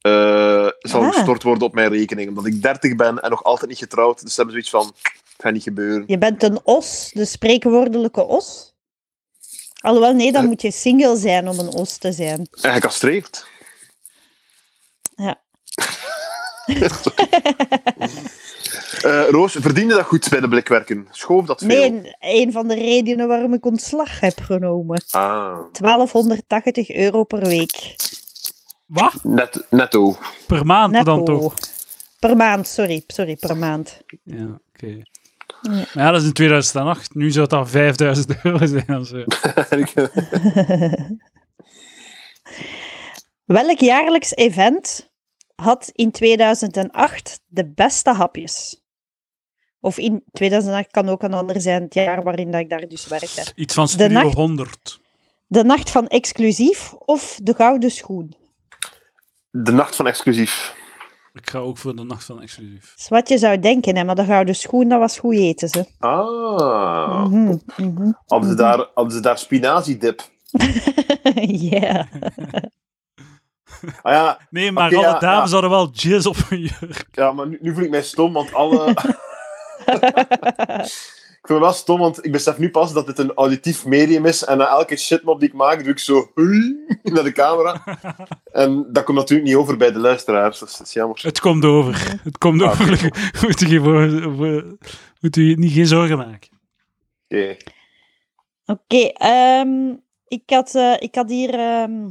A: eh, zal
C: Ah.
A: gestort worden op mijn rekening. Omdat ik 30 ben en nog altijd niet getrouwd. Dus ze hebben zoiets van, het gaat niet gebeuren.
C: Je bent een os, de spreekwoordelijke os. Alhoewel, nee, dan
A: Eh.
C: moet je single zijn om een os te zijn.
A: En gecastreerd.
C: Ja.
A: Eh, Roos, verdiende dat goed bij de blikwerken? Schoof dat veel?
C: Nee, een van de redenen waarom ik ontslag heb genomen.
A: Ah,
C: 1280 euro per week.
B: Wat?
A: net, netto.
B: Per maand dan
C: Netto.
B: toch?
C: Per maand, sorry, sorry, per maand.
B: Ja, oké.
C: Ja.
B: Maar ja, dat is in 2008. Nu zou het dan 5000 euro zijn of zo.
C: Welk jaarlijks event had in 2008 de beste hapjes? Of in 2008 kan ook een ander zijn, het jaar waarin dat ik daar dus werkte.
B: Iets van
C: De
B: Studio
C: nacht-
B: 100.
C: De Nacht van Exclusief of De Gouden Schoen?
A: <laughs> de nacht van exclusief.
B: Ik ga ook voor de nacht van exclusief.
C: Dat is Dus wat je zou denken, hè, maar De Gouden Schoen, dat was goed eten, ze.
A: Ah.
B: Oh.
C: Mhm, mhm. <laughs>
A: Hadden, ze daar, hadden ze daar spinaziedip?
C: Ja.
A: Ah ja,
B: Nee, maar
A: Oké,
B: alle
A: ja,
B: dames hadden wel jizz op hun jurk.
A: ja maar nu, nu voel ik mij stom, want alle... <laughs> ik voel me wel stom, want ik besef nu pas dat dit een auditief medium is. En na elke shitmop die ik maak, doe ik zo... <laughs> naar de camera. En dat komt natuurlijk niet over bij de luisteraars. Dus dat is jammer.
B: <laughs> Het komt over. Het komt
A: Ah,
B: over. <laughs> Moet u, je voor- voor- moet u je niet geen zorgen maken.
A: Oké.
C: Oké, ehm, ik, had, eh, ik had hier ehm,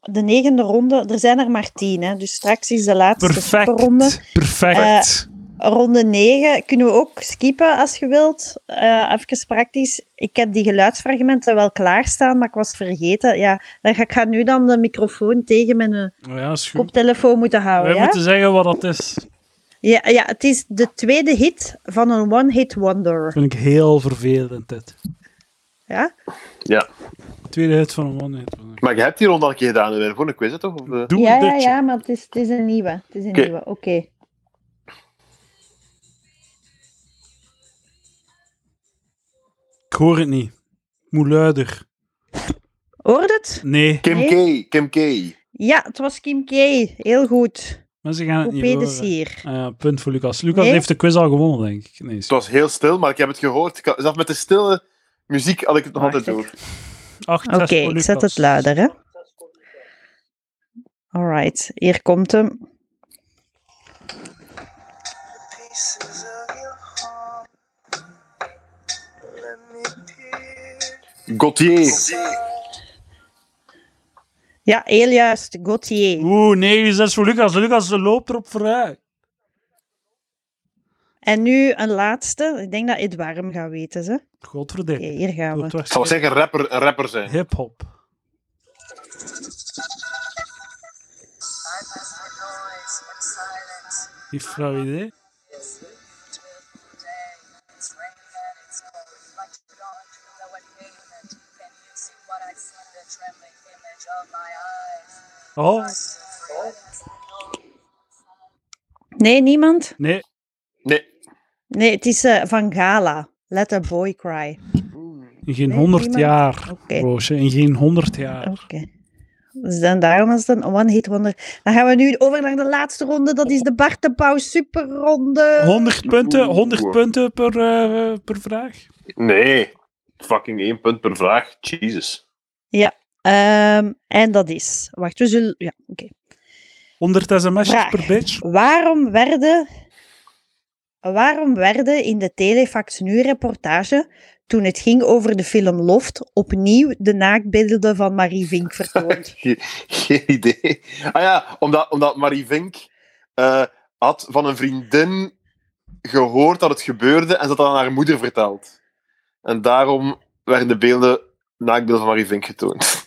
C: de negende ronde. Er zijn er maar tien, hè, dus straks is de laatste superronde.
B: Perfect. Perfect.
C: Ronde 9 kunnen we ook skippen als je wilt. Eh even praktisch. Ik heb die geluidsfragmenten wel klaarstaan, maar ik was het vergeten. Ja, dan ga ik ga nu dan de microfoon tegen mijn eh,
B: Nou ja, is goed.
C: koptelefoon moeten
B: Wij
C: houden. nou, Ja?
B: moeten zeggen wat dat is.
C: Ja, ja, het is de tweede hit van een one-hit wonder.
B: Vind ik heel vervelend, dit.
C: Ja?
A: Ja.
B: Tweede hit van een one hit.
A: Maar je hebt die ronde al een keer gedaan. We hebben gewoon een quiz, hè, toch? Of, eh?
B: Doe
C: ja,
B: dit.
C: ja, ja, maar het is, het is een nieuwe. Het is een
A: Oké.
C: nieuwe, oké.
B: Ik hoor het niet. Ik moet luider.
C: Hoort het?
B: Nee,
A: Kim K. Kim K.
C: Ja, het was Kim K. Heel goed.
B: maar ze gaan het niet
C: Coupé de
B: horen.
C: Sier.
B: Ah, punt voor Lucas. Lucas
C: Nee?
B: heeft de quiz al gewonnen, denk ik. Nee,
A: Het was heel stil, maar ik heb het gehoord. Ik had- Zelfs met de stille muziek had ik het nog
B: Ah,
C: Wacht,
A: altijd door.
B: acht,
C: Oké,
B: zes voor
C: ik zet
B: Lucas.
C: het luider, hè. Alright, hier komt hem.
D: pieces of your heart. Let me pierce
A: Gauthier.
C: Ja, heel juist. Gauthier.
B: Oeh, 9, 6 voor Lucas. Lucas loopt erop vooruit.
C: En nu een laatste. Ik denk dat Edouard hem gaat weten, ze. Oké,
B: Godverdikke.
C: hier gaan we.
A: Ik zal wel zeggen, rapper, een rapper zijn.
B: Hip-hop.
D: noise and silence.
B: Die flauw idee.
D: It's raining and it's cold. Like July, you know what came it. Can you see what I see? The trembling image of my eyes.
B: Oh,
C: Nee, niemand?
B: nee.
A: Nee.
C: Nee, het is eh, van Gala. Let a boy cry.
B: In geen
C: Nee,
B: 100
C: niemand? Oh.
B: jaar,
C: Oké.
B: Roosje. In geen 100 jaar.
C: Oké. Dus dan, daarom is het een one-hit wonder. Dan gaan we nu over naar de laatste ronde. Dat is de Bart de Pauw superronde.
B: 100 punten, 100
A: Oeh.
B: punten per, eh, per vraag.
A: Nee. Fucking één punt per vraag. Jesus.
C: Ehm, en dat is... Wacht, we zullen... Ja, oké.
B: 100 sms'jes
C: Vraag.
B: per bitch.
C: Waarom werden, waarom werden in de Telefax Nu-reportage, toen het ging over de film Loft, opnieuw de naaktbeelden van Marie Vink vertoond?
B: <laughs>
A: Ge- geen idee. Ah ja, omdat, omdat Marie Vink eh, had van een vriendin gehoord dat het gebeurde en ze had dat aan haar moeder verteld. En daarom werden de beelden, naaktbeelden van Marie Vink getoond.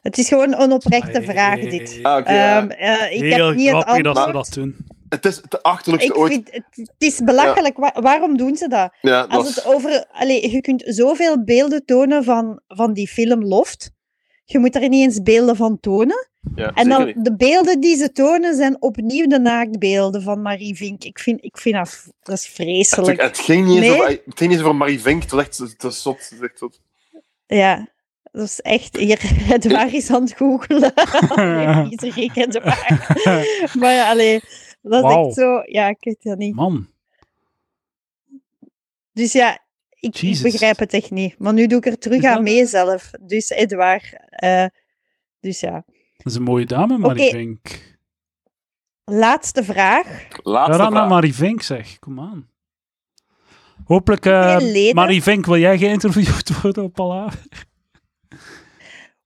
C: het is gewoon een oprechte
B: Hey.
C: vraag, dit.
A: Ah, oké, ja.
C: Ehm, eh, ik
B: Heel
C: heb niet het
B: grappig dat ze
C: antwoord.
B: dat doen.
A: Het is het achterlijkste
C: Ik
A: ooit.
C: vind, het, het is belachelijk. Wa- waarom doen ze dat?
A: Ja, dat
C: Als
A: is-
C: het over, allee, je kunt zoveel beelden tonen van, van die film Loft. Je moet er niet eens beelden van tonen.
A: ja,
C: En
A: zeker
C: dan
A: niet.
C: de beelden die ze tonen zijn opnieuw de naaktbeelden van Marie Vink. Ik vind, ik vind dat, v- dat is
A: Het,
C: vreselijk.
A: het ging niet eens
C: Nee?
A: over, het ging niet eens over Marie Vink. Het was echt het was zot. Het is echt zot.
C: Ja, dat is echt. Hier, <laughs> het waar is aan het
A: <laughs>
C: googelen. Allee, Iedereen kent de waar. <laughs> Maar ja, allee, dat is
B: Wauw.
C: echt zo. Ja, ik weet dat niet.
B: Man,
C: Dus ja, ik, ik
B: Jezus.
C: begrijp het echt niet. Maar nu doe ik er terug
B: Is
C: aan
B: dat-
C: mee zelf. Dus Edouard. eh, dus ja.
B: dat is een mooie dame, Marie
C: Oké.
B: Vink.
C: Laatste vraag.
A: Laatste
B: Daarna
A: vraag.
B: nou Marie Vink, zeg. Kom aan. Hopelijk, eh,
C: Hoeveel leden-
B: Marie Vink, wil jij geïnterviewd <laughs> worden op Palaver?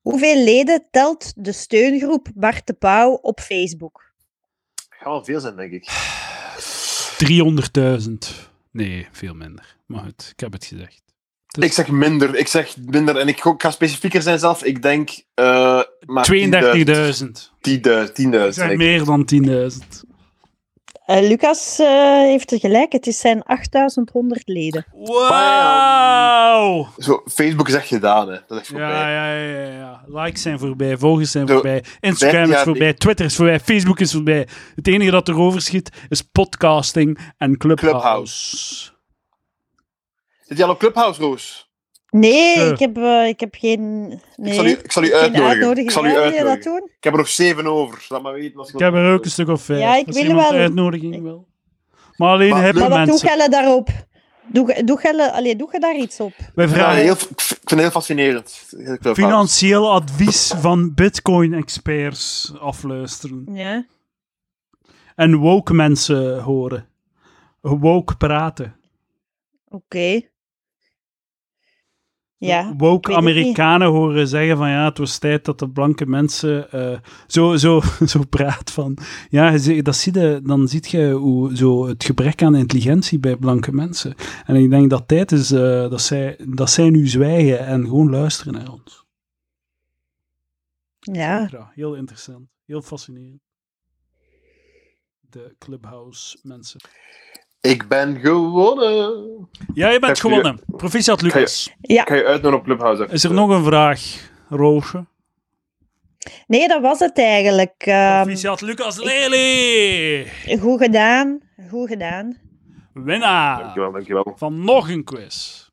C: Hoeveel leden telt de steungroep Bart de Pauw op Facebook?
A: Het gaat wel veel zijn, denk ik.
B: 300.000. Nee, veel minder. Maar goed, ik heb het gezegd. Dus
A: Ik zeg minder. Ik zeg minder. En ik, gok- ik ga specifieker zijn zelf. Ik denk... eh maar 10.000. 10.000.
B: 32.000. Ik zeg
A: denk ik.
B: meer dan 10.000.
C: Eh, Lucas eh, heeft er gelijk. Het is zijn 8100 leden.
B: Wauw!
A: Zo, Facebook is echt gedaan, hè. Dat is echt voorbij.
B: Ja, ja, ja, ja. Likes zijn voorbij, volgers zijn
A: Zo,
B: voorbij,
A: dertien
B: Instagram is
A: jaar
B: voorbij, Twitter is voorbij, Facebook is voorbij. Het enige dat er overschiet is podcasting en Clubhouse.
A: Clubhouse. Zit je al op Clubhouse, Roos?
C: Nee,
B: Eh.
C: ik, heb, eh, ik heb geen. Nee,
A: Ik zal u, ik zal u
C: geen
A: uitnodigen.
C: uitnodiging.
A: Ik zal u
C: Ja, wil je
A: uitnodigen.
C: dat doen?
A: Ik heb er nog zeven over. Laat maar weten. Als
B: Ik heb er ook een stuk of vijf.
C: Ja, ik
B: Als
C: wil
B: iemand
C: wel-
B: uitnodiging wil. Maar alleen
A: Maar-
B: hebben
C: Maar wat doe
B: mensen.
C: jij daarop? Doe, ge- doe, jij, allee, doe jij daar iets op?
B: Wij
A: Ja,
B: vragen
A: heel, ik vind het heel fascinerend. heel Clubhouse.
B: financieel advies van bitcoin-experts afluisteren.
C: Ja.
B: En woke mensen horen. Woke praten.
C: Oké. Ja. ik
B: woke
C: weet het
B: Amerikanen horen zeggen van ja, het was tijd dat de blanke mensen eh, zo, zo, <laughs> zo praat van ja, je zie- dat zie je, dan ziet je hoe, zo het gebrek aan intelligentie bij blanke mensen. En ik denk dat tijd is eh, dat, zij, dat zij nu zwijgen en gewoon luisteren naar ons.
C: Ja.
B: Ja, heel interessant. Heel fascinerend. De Clubhouse mensen.
A: Ik ben gewonnen.
B: Ja, je bent
A: Heb je-
B: gewonnen. Proficiat Lucas.
A: Ik ga je uitnodigen op Clubhouse.
B: Is er nog een vraag, Roosje?
C: Nee, dat was het eigenlijk. Ehm,
B: Proficiat Lucas Lely!
C: goed gedaan. Goed gedaan.
B: Winnaar
A: Dankjewel, dankjewel.
B: van nog een quiz.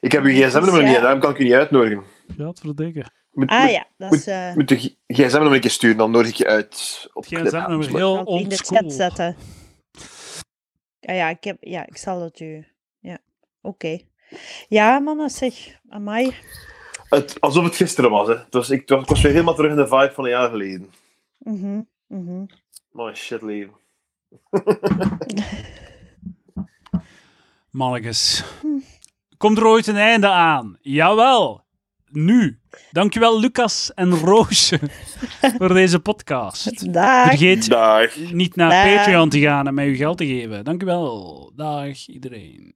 A: Ik heb uw gsm-nummer
C: Ja.
A: niet, daarom kan ik u niet uitnodigen.
B: Gadverdikke.
A: Moet,
C: Ah
A: moet-
C: ja, dat is... eh,
A: moet de g- gsm-nummer een keer sturen, dan nodig ik je uit. Op
B: Geen zin, maar
A: Clubhouse.
B: heel
C: zal het in de
B: oldschool.
C: chat zetten. Ja, ja, ik heb, ja, ik zal het u. Ja, oké. Ja, mannen, zeg, amai.
A: Het, alsof het gisteren was, hè. Dus ik, ik was weer helemaal terug in de vibe van een jaar geleden.
C: Mhm, mhm.
A: My shit, leven.
B: Mannekes.
C: Hm.
B: Komt er ooit een einde aan? Jawel. Nu. Dankjewel Lucas en
C: <laughs>
B: Roosje voor deze podcast.
C: Dag.
B: Vergeet
A: Dag.
B: niet naar
C: Dag.
B: Patreon te gaan en mij uw geld te geven. Dankjewel. Dag iedereen.